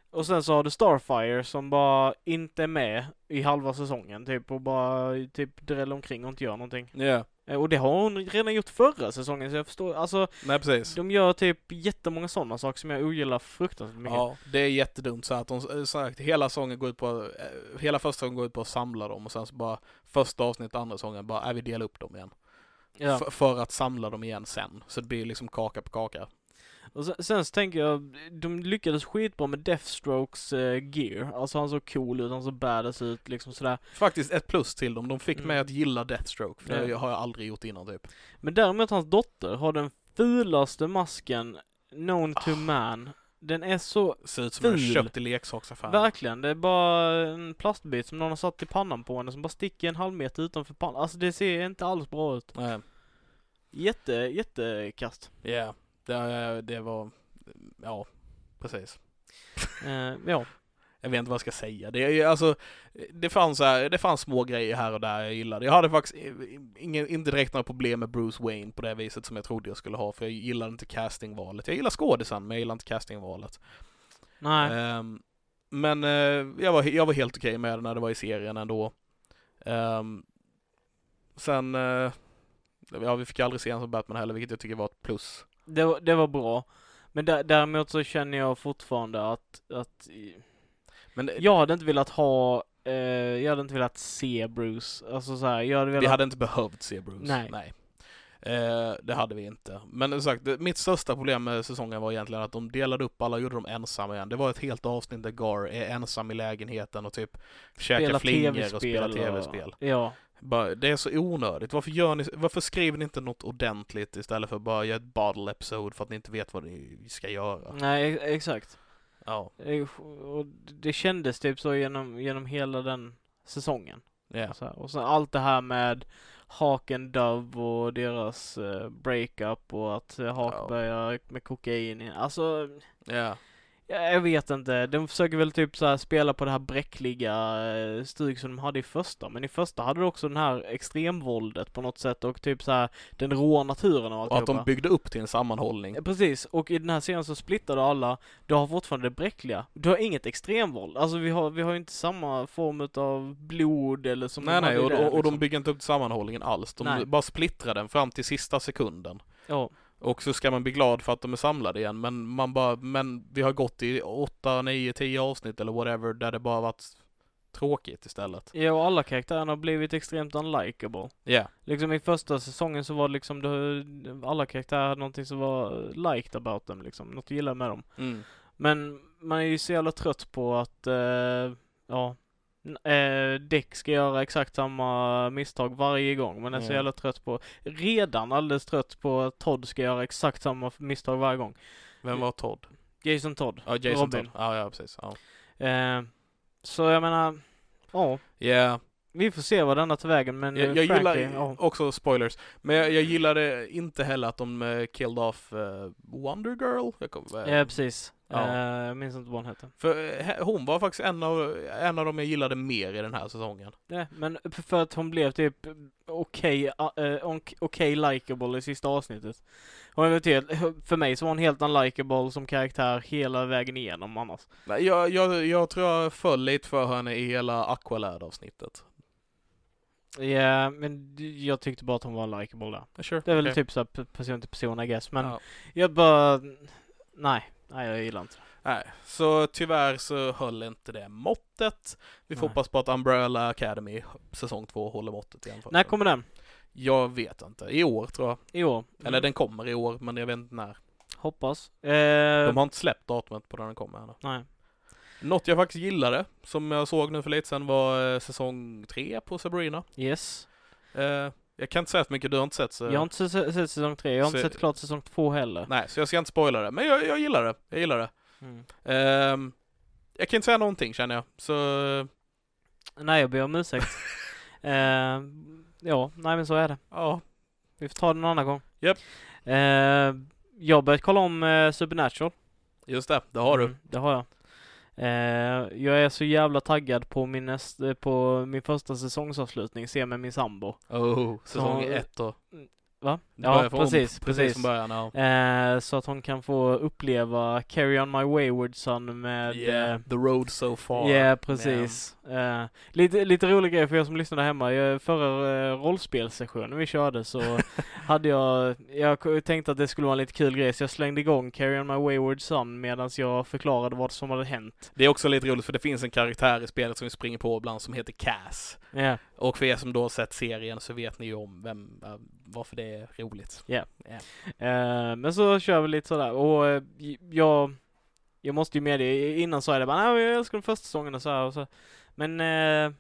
B: Och sen så har du Starfire som bara inte är med i halva säsongen typ och bara typ dräller omkring och inte gör någonting.
C: Ja,
B: Eh, Och det har hon redan gjort förra säsongen så jag förstår, alltså
C: nej precis.
B: de gör typ jättemånga sådana saker som jag ogillar fruktansvärt mycket.
C: Ja, det är jättedumt så att de, eh, så här, hela sången går ut på, eh, hela första sången går ut på att samla dem och sen så bara första avsnittet, andra sången bara, är vi delar upp dem igen.
B: Ja.
C: F- för att samla dem igen sen. Så det blir liksom kaka på kaka.
B: Och sen, sen så tänker jag, de lyckades skitbra med Deathstrokes eh, gear. Alltså han såg cool ut, han såg badass ut liksom sådär.
C: Faktiskt ett plus till dem, de fick
B: Mm.
C: mig att gilla Deathstroke, för det
B: Ja.
C: har jag aldrig gjort innan typ.
B: Men däremot hans dotter har den fulaste masken known to
C: Ah.
B: man. Den är så,
C: Ser ut som en
B: Ful.
C: köpt i leksaksaffären.
B: verkligen, det är bara en plastbit som någon har satt i pannan på henne som bara sticker en halv meter utanför pannan. Alltså det ser inte alls bra ut.
C: Nej,
B: Jätte, jättekast.
C: Ja, det, det var, ja, precis.
B: Eh, ja.
C: Jag vet inte vad jag ska säga. Det, är ju- alltså, det, fanns, så här- det fanns små grejer här och där jag gillade. Jag hade faktiskt ingen, inte direkt några problem med Bruce Wayne på det viset som jag trodde jag skulle ha, för jag gillade inte castingvalet. Jag gillar skådisen, men jag gillar inte castingvalet.
B: Nej.
C: Ehm, men eh, jag, var, jag var helt okej med det när det var i serien ändå. Ehm, sen, eh, ja vi fick aldrig se honom som Batman heller, vilket jag tycker var ett plus.
B: Det, var- det var bra. Men dä- däremot så känner jag fortfarande att, att
C: Men
B: Jag hade inte velat ha, eh, jag hade inte velat se Bruce. Alltså så här, jag hade velat...
C: Vi hade inte behövt se Bruce.
B: Nej.
C: Eh, det hade vi inte. Men som sagt, det- mitt största problem med säsongen var egentligen att de delade upp alla och gjorde dem ensamma igen. Det var ett helt avsnitt där Gar är ensam i lägenheten och typ käkar
B: spelat
C: flingor och spelar
B: och-
C: tv-spel.
B: Ja.
C: Bara, det är så onödigt. Varför, gör ni, varför skriver ni inte något ordentligt istället för att bara göra ett bottle episode för att ni inte vet vad ni ska göra?
B: Nej, e- exakt.
C: Ja.
B: Eh, Och det kändes typ så genom, genom hela den säsongen.
C: ja.
B: Så här. Och sen allt det här med Hawk and Dove och deras eh, breakup och att eh, Hawk
C: Ja.
B: börjar med kokain. Alltså,
C: ja.
B: Ja, Jag vet inte, de försöker väl typ så här spela på det här bräckliga eh, stug som de hade i första, men i första hade du också den här extremvåldet på något sätt och typ så här den råa naturen och
C: Och att de
B: alltihopa.
C: byggde upp till en sammanhållning.
B: Ja, Precis, och i den här serien så splittar du alla, du har fortfarande det bräckliga, du har inget extremvåld, alltså vi har, vi har ju inte samma form utav blod eller som
C: nej,
B: de
C: nej,
B: hade i
C: och,
B: det,
C: och, och de
B: liksom.
C: bygger inte upp sammanhållningen alls. De
B: Nej.
C: bara splittrar den fram till sista sekunden.
B: Ja,
C: Och så ska man bli glad för att de är samlade igen, men man bara, men vi har gått i 8, 9, 10 avsnitt eller whatever där det bara varit tråkigt istället.
B: ja, och alla karaktärerna har blivit extremt unlikable.
C: Ja.
B: Liksom i första säsongen så var det liksom, du- alla karaktärer hade någonting som var liked about dem liksom, något du gillade med dem.
C: Mm.
B: Men man är ju så jävla trött på att, eh, ja, n- eh, Dick ska göra exakt samma misstag varje gång. Man är så
C: Mm.
B: jävla trött på, redan alldeles trött på att Todd ska göra exakt samma f- misstag varje gång.
C: Vem var Todd?
B: Jason Todd.
C: Ja, Jason
B: Robin.
C: Todd. Ja, ja, precis. Ja.
B: Eh, så jag menar, ja,
C: Yeah.
B: vi får se vad denna tar vägen men
C: Jag,
B: eh,
C: jag gillar
B: frankly, ja.
C: också spoilers, men jag, jag gillade inte heller att de eh, killed off eh, Wonder Girl. Jag kom, eh,
B: Ja, precis.
C: ja.
B: Eh, jag minns inte vad han hette.
C: För eh, hon var faktiskt en av, en av dem jag gillade mer i den här säsongen.
B: Nej, men f- för att hon blev typ okej, okay, okej likeable i sista avsnittet. Hon vet helt, för mig så var hon helt unlikable som karaktär hela vägen igenom annars.
C: Nej, Jag, jag, jag tror jag föll lite för henne i hela Aqualad-avsnittet.
B: Ja, men d- jag tyckte bara att hon var likable där.
C: Sure.
B: Det är väl
C: okej.
B: typ såhär p- person till person I guess, men
C: Ja.
B: jag bara, nej, nej jag gillar inte det.
C: Nej, så tyvärr så höll inte det måttet. Vi får
B: Nej.
C: hoppas på att Umbrella Academy säsong två håller måttet igen. för
B: När Mm.
C: den.
B: kommer den?
C: Jag vet inte. I år tror jag.
B: I år?
C: Eller den kommer i år, men jag vet inte
B: Eh.
C: när.
B: Hoppas. Eh,
C: De har inte släppt datumet på när den kommer ännu.
B: Nej.
C: Något jag faktiskt gillade, som jag såg nu för lite sedan, var eh, säsong tre på Sabrina.
B: Yes.
C: Eh, jag kan inte säga så mycket, du har inte sett så...
B: Jag har inte se- se- sett säsong tre, jag har inte
C: Så-
B: sett klart säsong två heller.
C: Eh. Nej, så jag ska inte spoila det. Men jag, jag gillar det. Jag gillar det.
B: Mm.
C: Ehm, jag kan inte säga någonting känner jag. Så
B: Nej, jag ber om
C: [laughs]
B: ursäkt. eh, ja, nej men så är det.
C: ja,
B: Vi får ta det någon annan gång.
C: Japp.
B: Eh, jag har börjat kolla om eh, Supernatural.
C: just det. Det har du.
B: Mm, det har jag. Eh, jag är så jävla taggad på min, näst, eh, på min första säsongsavslutning, se med min sambo.
C: Oh, säsong
B: Så-
C: ett då.
B: Va?
C: Du
B: Ja,
C: börjar från-
B: precis,
C: Precis
B: precis.
C: som början, ja.
B: Eh, så att hon kan få uppleva Carry On My Wayward Son med... eh,
C: Yeah, the road so
B: Ja,
C: far.
B: precis. Eh, lite, lite rolig grej för er som lyssnar där hemma. Jag, förra uh, rollspelssessionen vi körde så hade jag, jag k- tänkte att det skulle vara en lite kul grej så jag slängde igång Carry On My Wayward Son medan jag förklarade vad som hade hänt.
C: Det är också lite roligt för det finns en karaktär i spelet som vi springer på ibland som heter Cass.
B: Ja,
C: Och för er som då har sett serien så vet ni ju om vem, eh, varför det är roligt.
B: eh, men så kör vi lite sådär och eh, j- jag, jag måste ju med det. Innan sa jag det bara, nej jag älskar den första säsongen och så här och så. Men, eh,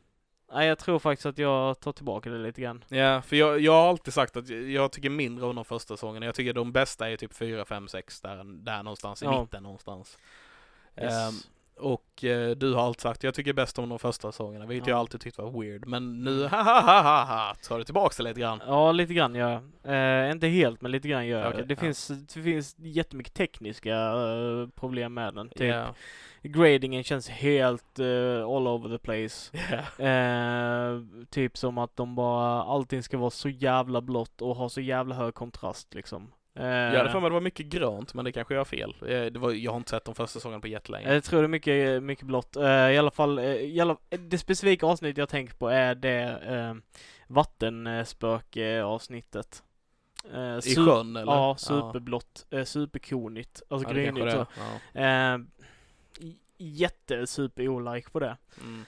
B: nej jag tror faktiskt att jag tar tillbaka det lite grann.
C: Ja, för jag, jag har alltid sagt att jag- jag tycker mindre om de första säsongerna. Jag tycker de bästa är typ 4, 5, 6 där, där någonstans, i
B: Ja.
C: mitten någonstans.
B: Yes.
C: Ehm, och eh, du har alltid sagt, jag tycker bäst om de första säsongerna, vilket
B: Ja.
C: jag alltid tyckt var weird. Men nu, ha ha ha ha ha, tar du tillbaks det lite grann.
B: Ja, lite grann gör jag. Eh, inte helt, men lite grann gör jag.
C: Okej,
B: det.
C: ja.
B: Finns, det finns jättemycket tekniska eh, problem med den. Typ
C: Ja.
B: gradingen känns helt eh, all over the place.
C: Ja.
B: Eh, typ som att de bara, allting ska vara så jävla blått och ha så jävla hög kontrast liksom. Eh,
C: Jag hade för mig det var mycket grönt, men det kanske jag har fel. Eh, Det var, jag har inte sett de första säsongerna på jättelänge.
B: jag tror det är mycket, mycket blått. Eh, I alla fall, eh, i alla, det specifika avsnitt jag tänker på är det eh, vattenspöke-avsnittet. Eh,
C: I
B: super-
C: sjön eller?
B: Ja, superblått, eh, superkonigt, alltså
C: Ja, det kanske
B: grynigt så.
C: det är. Ja.
B: Eh, j- Jättesuper-olike på det.
C: Mm.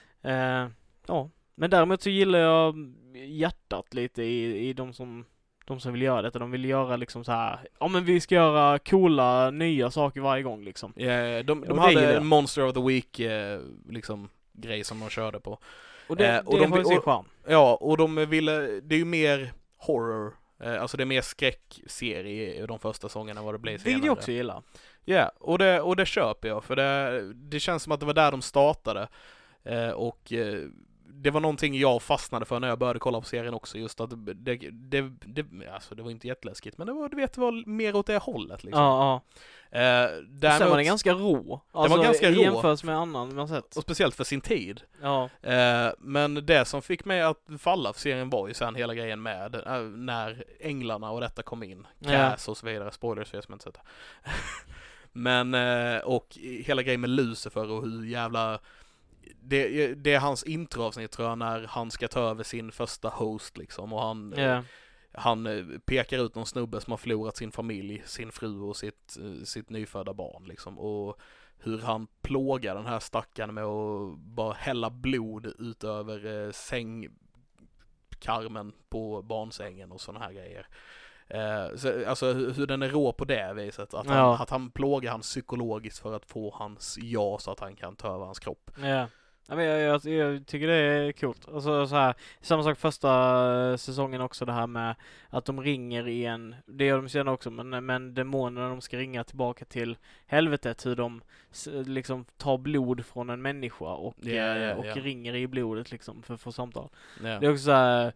B: Eh, ja, men däremot så gillar jag mm, hjärtat lite i, i de som de som vill göra detta, de vill göra liksom så här. ja men vi ska göra coola nya saker varje gång liksom.
C: Ja, Eh, de,
B: Ja,
C: de
B: det gillar
C: hade
B: jag.
C: en Monster of the Week eh, liksom grej som de körde på.
B: Och det,
C: Eh, och
B: det
C: de
B: har ju
C: vill-
B: sin
C: och-
B: charm.
C: Ja, och de ville, det är ju mer horror, eh, alltså det är mer skräckserie i de första säsongerna än vad det blev senare.
B: Vilket jag också gillar.
C: Ja, och, det, och det köper jag för det, det känns som att det var där de startade. Eh, och eh, det var någonting jag fastnade för när jag började kolla på serien också, just att det, det, det, alltså det var inte jätteläskigt, men det var, du vet, det var mer åt det hållet liksom.
B: Ja,
C: Eh,
B: ja. Sen var den
C: däremot,
B: ganska rå. Alltså,
C: var ganska
B: i
C: rå.
B: jämförelse med annan man sett.
C: och speciellt för sin tid.
B: Ja.
C: Eh, men det som fick mig att falla för serien var ju sen hela grejen med eh, när änglarna och detta kom in.
B: Ja.
C: Cass och så vidare, spoilers för er som inte sett det. [laughs] men, eh, och hela grejen med Lucifer och hur jävla det, det är hans introavsnitt tror jag när han ska ta över sin första host liksom och han,
B: Ja.
C: han eh, pekar ut någon snubbe som har förlorat sin familj, sin fru och sitt, eh, sitt nyfödda barn liksom och hur han plågar den här stackaren med att bara hälla blod ut över eh, sängkarmen på barnsängen och sådana här grejer. Eh, så, alltså hur, hur den är rå på det viset, att han,
B: Ja.
C: att han plågar han psykologiskt för att få hans ja så att han kan ta över hans kropp.
B: Ja. Ja, men jag, jag, jag tycker det är coolt. Alltså, så här, samma sak första eh, säsongen också det här med att de ringer i en, det gör de sen också, men, men demonerna de ska ringa tillbaka till helvetet, hur de s- liksom tar blod från en människa och,
C: Ja, ja,
B: eh,
C: ja.
B: och ringer i blodet liksom för att få samtal.
C: Ja.
B: Det är också så här eh,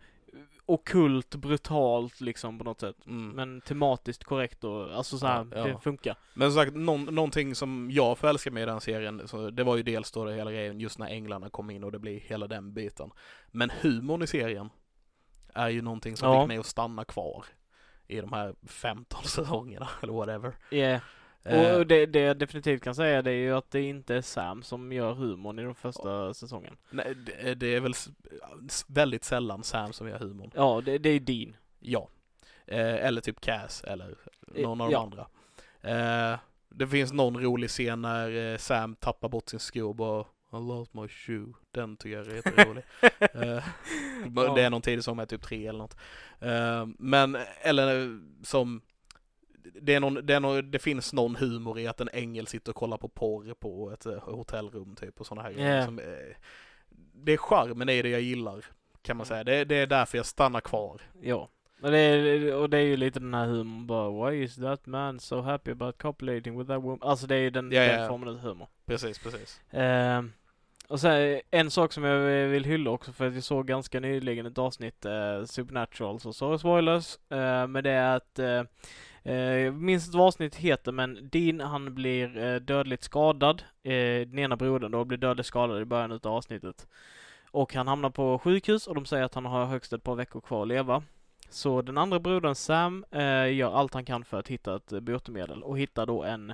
B: okult, brutalt liksom på något sätt.
C: Mm.
B: Men tematiskt korrekt och alltså så här,
C: Ja, ja.
B: det funkar.
C: Men som sagt, någon, någonting som jag förälskade mig i den serien, så det var ju dels då det hela grejen just när änglarna kom in och det blir hela den biten. Men humorn i serien är ju någonting som
B: Ja.
C: fick mig att stanna kvar i de här 15 säsongerna [laughs] eller whatever.
B: Yeah.
C: Eh,
B: Och det, det jag definitivt kan säga det är ju att det inte är Sam som gör humorn i den första säsongen.
C: nej, det, det är väl s- s- väldigt sällan Sam som gör humorn.
B: Ja, det, det är ju
C: [laughs]
B: din.
C: Ja. Eh, eller typ Cass eller någon av de
B: Ja.
C: andra. Eh, det finns någon rolig scen när eh, Sam tappar bort sin sko och bara I lost my shoe. Den
B: [laughs]
C: tycker jag är jätterolig. Eh, Det är någon tidig som är typ tre eller något. Eh, Men, eller eh, som det, är någon, det, är någon, det finns någon humor i att en ängel sitter och kollar på porr på ett eh, hotellrum typ och sådana här
B: Ja.
C: grejer. Som, eh, det är charmen i det jag gillar kan man säga. Det, det är därför jag stannar kvar.
B: Ja. Och det, är, och det är ju lite den här humorn bara Why is that man so happy about copulating with that woman? Alltså det är ju den,
C: Ja, ja,
B: den
C: ja.
B: formen av humor.
C: Precis, precis.
B: Ehm, och sen en sak som jag vill hylla också för att jag såg ganska nyligen ett avsnitt eh, Supernatural så sorry spoilers. Eh, men det är att eh, eh, jag minns inte vad avsnittet heter men Dean han blir eh, dödligt skadad. Eh, den ena brodern då blir dödligt skadad i början utav avsnittet. Och han hamnar på sjukhus och de säger att han har högst ett par veckor kvar att leva. Så den andra brodern Sam eh, gör allt han kan för att hitta ett eh, botemedel och hittar då en
C: Nu,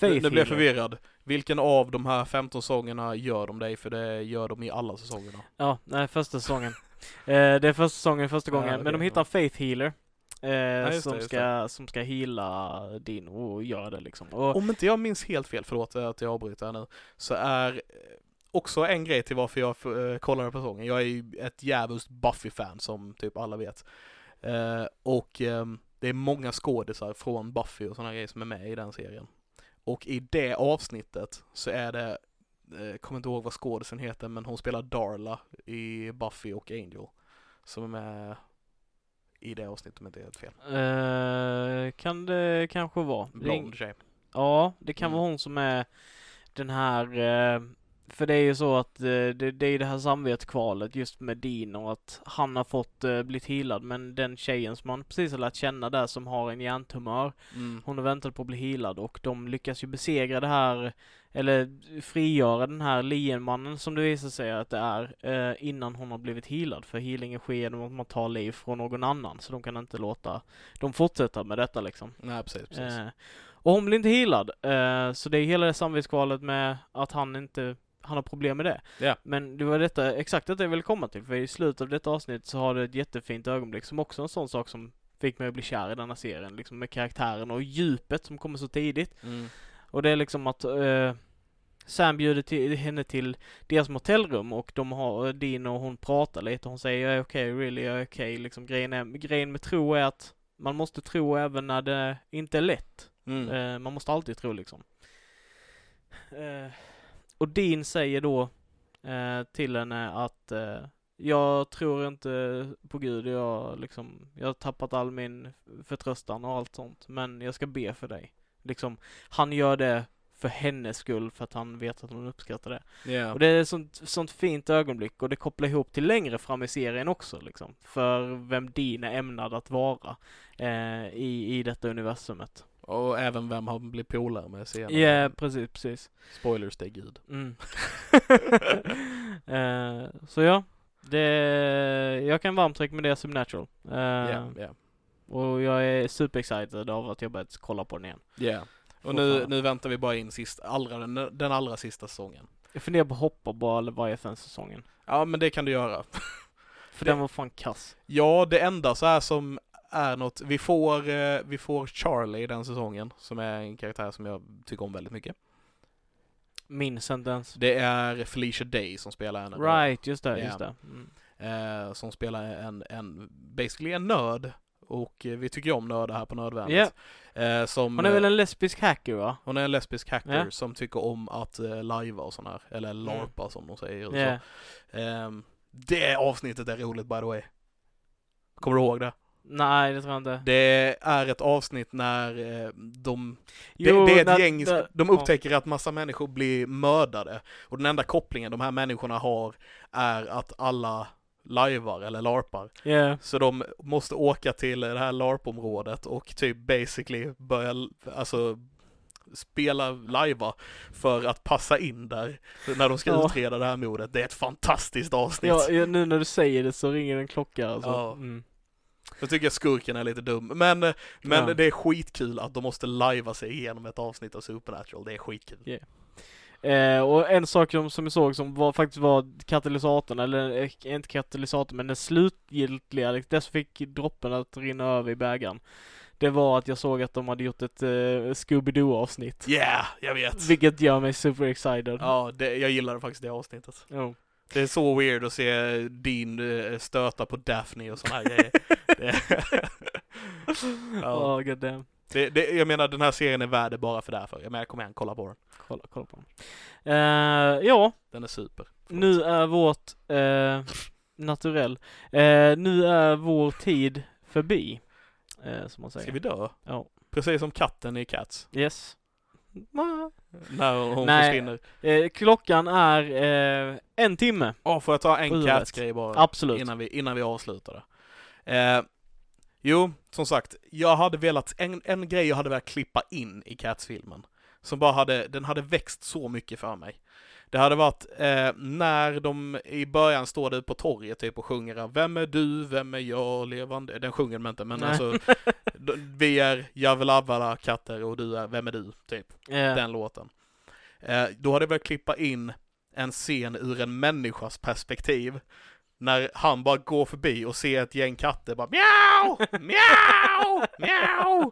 C: nu blir jag
B: healer.
C: förvirrad. Vilken av de här 15 sångerna gör de dig? För det gör de i alla säsongerna.
B: Ja, nej, första säsongen. [laughs] eh, det är första säsongen, första
C: Ja,
B: gången. Men
C: okej,
B: de
C: ja.
B: hittar en Faith Healer. Eh,
C: just
B: som,
C: det, just
B: ska, som ska heala din och göra det liksom. Och,
C: Om inte jag minns helt fel, förlåt att jag avbryter här nu, så är eh, också en grej till varför jag eh, kollade på säsongen. Jag är ju ett djävulskt Buffy-fan som typ alla vet. Eh, och ehm, det är många skådisar från Buffy och sådana grejer som är med i den serien. Och i det avsnittet så är det, eh, kommer inte ihåg vad skådisen heter, men hon spelar Darla i Buffy och Angel. Som är med i det avsnittet om jag inte är helt fel.
B: eh, kan det kanske vara?
C: Oh. Blond tjej.
B: Ja, det kan
C: Mm.
B: vara hon som är den här eh, för det är ju så att eh, det, det är ju det här samvetskvalet just med Dean och att han har fått eh, blivit healad men den tjejen som han precis har lärt känna där som har en hjärntumör
C: Mm.
B: Hon har väntat på att bli healad och de lyckas ju besegra det här, eller frigöra den här liemannen som det visar sig att det är, eh, innan hon har blivit healad. För healingen sker genom att man tar liv från någon annan, så de kan inte låta dem fortsätta med detta liksom.
C: Nej, precis, precis.
B: Eh, och hon blir inte healad, eh, så det är hela det samvetskvalet med att han inte han har problem med det.
C: Ja.
B: Men det var detta, exakt detta jag ville komma till, för i slutet av detta avsnitt så har det ett jättefint ögonblick som också är en sån sak som fick mig att bli kär i denna serien, liksom med karaktären och djupet som kommer så tidigt.
C: Mm.
B: Och det är liksom att eh, Sam bjuder till, henne till deras motellrum och de har, Dean och hon pratar lite och hon säger jag är okej, really, jag är okej. Liksom grejen, är, grejen med tro är att man måste tro även när det inte är lätt.
C: Mm.
B: Eh, man måste alltid tro liksom. Eh, och Dean säger då eh, till henne att eh, jag tror inte på Gud, jag, liksom, jag har tappat all min förtröstan och allt sånt, men jag ska be för dig. Liksom, han gör det för hennes skull för att han vet att hon uppskattar det.
C: Yeah.
B: Och det är ett sånt, sånt fint ögonblick och det kopplar ihop till längre fram i serien också liksom. För vem din är ämnad att vara eh, i, i detta universumet.
C: Och även vem han blir polare med
B: Ja,
C: senare.
B: yeah, precis, precis.
C: Spoilers, det är gud.
B: Mm. [laughs] eh, så ja, det, jag kan varmt rekommendera Subnatural. Eh,
C: Yeah, yeah.
B: Och jag är superexcited av att jag börjat kolla på den igen.
C: Yeah. Och
B: Fortfarande.
C: nu, nu väntar vi bara in sist, allra, den, den allra sista säsongen.
B: Jag funderar på att hoppa bara Leviathan-säsongen.
C: Ja, men det kan du göra.
B: För
C: Det-
B: den var fan kass.
C: Ja, det enda så här som är något, vi får, eh, vi får Charlie i den säsongen, som är en karaktär som jag tycker om väldigt mycket.
B: Minns inte ens.
C: Det är Felicia Day som spelar henne. då.
B: Right, just det, just
C: Ja.
B: det. Mm.
C: Eh, som spelar en, en, basically en nörd. Och eh, vi tycker ju om nördar här på Nördvärnet. Eh, som,
B: Hon är väl en lesbisk hacker va?
C: hon är en lesbisk hacker
B: Ja. Mm.
C: som tycker om att eh, lajva och sån här, eller larpa som de säger i USA.
B: Ja.
C: Ehm, det avsnittet är roligt by the way. Kommer du ihåg det?
B: Nej, det tror jag inte.
C: Det är ett avsnitt när eh, de,
B: Jo,
C: det, det är ett
B: när-
C: gäng,
B: där-
C: de
B: ja.
C: upptäcker att massa människor blir mördade. Och den enda kopplingen de här människorna har är att alla lajvar eller larpar.
B: Ja.
C: Så de måste åka till det här LARP-området och typ basically börja, alltså spela lajva för att passa in där när de ska
B: Ja.
C: utreda det här mordet. Det är ett fantastiskt avsnitt.
B: Ja, ja, nu när du säger det så ringer en klocka alltså.
C: Ja.
B: Mm.
C: Jag tycker skurken är lite dum, men, men
B: Ja.
C: det är skitkul att de måste lajva sig igenom ett avsnitt av Supernatural. Det är skitkul.
B: Ja. Eh, och en sak som, som jag såg som var, faktiskt var katalysatorn, eller eh, inte katalysatorn men den slutgiltiga, liksom, det som fick droppen att rinna över i bägaren. Det var att jag såg att de hade gjort ett eh, Scooby-Doo
C: [laughs]
B: avsnitt.
C: Yeah, jag vet.
B: Vilket gör mig super excited. Oh.
C: Ja, det, jag gillade faktiskt det avsnittet.
B: Jo.
C: Det är så weird att se Dean eh, stöta på Daphne och såna
B: [laughs]
C: här grejer. Det, [laughs] Ja.
B: Ja, Oh, god damn.
C: det, det, jag menar, den här serien är värd det bara för därför. Jag menar, kom igen, kolla på den.
B: Kolla, kolla på honom. Eh, ja,
C: Den är super.
B: nu är vårt eh, naturell. Eh, nu är vår tid förbi. Eh, som man säger.
C: Ska vi dö?
B: Ja.
C: Precis som katten i Cats.
B: Yes. Ma.
C: När hon
B: Nej.
C: försvinner.
B: Eh, klockan är eh, en timme.
C: Åh, får jag ta en
B: Huvudet.
C: Cats-grej bara?
B: Absolut.
C: innan vi, innan vi avslutar det. Eh, jo, som sagt, jag hade velat, en, en grej jag hade velat klippa in i Cats-filmen, som bara hade, den hade växt så mycket för mig. Det hade varit eh, när de i början står där på torget typ och sjunger Vem är du, vem är jag, levande... Den sjunger de inte, men
B: Nej. [laughs]
C: alltså d- Vi är Javelavala katter och du är Vem är du, typ.
B: Eh,
C: Den låten. Eh, då hade jag velat klippa in en scen ur en människas perspektiv. När han bara går förbi och ser ett gäng katter bara mjau, mjau, mjau.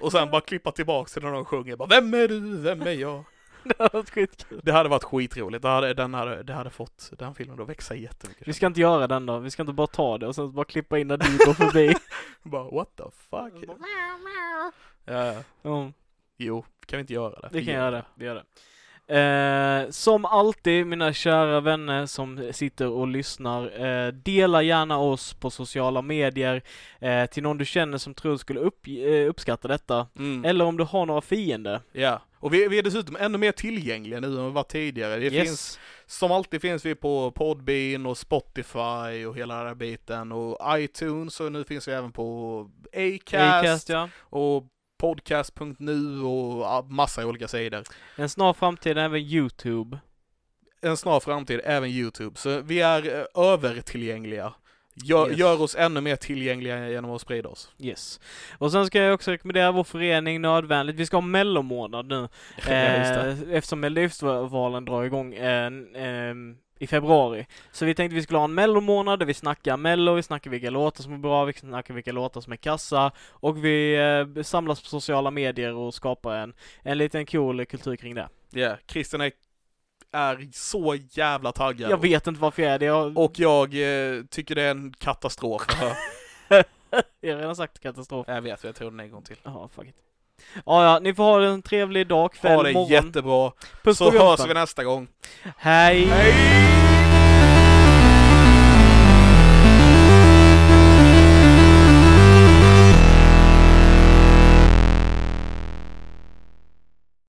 C: Och sen bara klippa tillbaks till när de sjunger bara Vem är du, vem är jag?
B: [laughs] det har varit skitkul.
C: Det hade varit skitroligt, det hade, den, hade, det hade fått den filmen att växa jättemycket.
B: Vi ska inte göra den då. Vi ska inte bara ta det och sen bara klippa in när du går
C: [laughs]
B: förbi.
C: Bara what the fuck?
B: Mm.
C: Ja, ja.
B: Ja,
C: Jo, kan vi inte göra det?
B: det kan jag göra. Vi gör det. Eh, som alltid mina kära vänner som sitter och lyssnar, eh, dela gärna oss på sociala medier eh, till någon du känner som tror skulle upp, eh, uppskatta detta.
C: Mm.
B: Eller om du har några fiender.
C: Ja, och vi, vi är dessutom ännu mer tillgängliga nu än vi var tidigare. Det
B: Yes.
C: finns, som alltid finns vi på Podbean och Spotify och hela den här biten och iTunes och nu finns vi även på Acast,
B: Acast, ja.
C: och podcast.nu och ja, massa olika sidor.
B: En snar framtid även Youtube.
C: En snar framtid även YouTube, så vi är eh, övertillgängliga. Gör,
B: Yes.
C: gör oss ännu mer tillgängliga genom att sprida oss.
B: Yes. Och sen ska jag också rekommendera vår förening Nödvändigt. Vi ska ha mellomånad nu.
C: [laughs] Ja, just det.
B: Eh, eftersom Melodifestivalen drar igång eh, eh, i februari. Så vi tänkte vi skulle ha en mellomånad där vi snackar mello, vi snackar vilka låtar som är bra, vi snackar vilka låtar som är kassa och vi eh, samlas på sociala medier och skapar en, en liten cool kultur kring det.
C: Ja, Christian är, är så jävla taggad.
B: Jag vet inte varför jag är det, jag,
C: Och jag eh, tycker det är en katastrof.
B: [laughs] jag har redan sagt katastrof.
C: Jag vet, jag tror den en gång till.
B: Ja, fuck it. Ja, ja, ni får ha en trevlig dag, kväll,
C: Ha det
B: morgon.
C: jättebra,
B: Puss
C: så
B: på
C: hörs
B: gumpen.
C: vi nästa gång.
B: Hej!
C: Hej!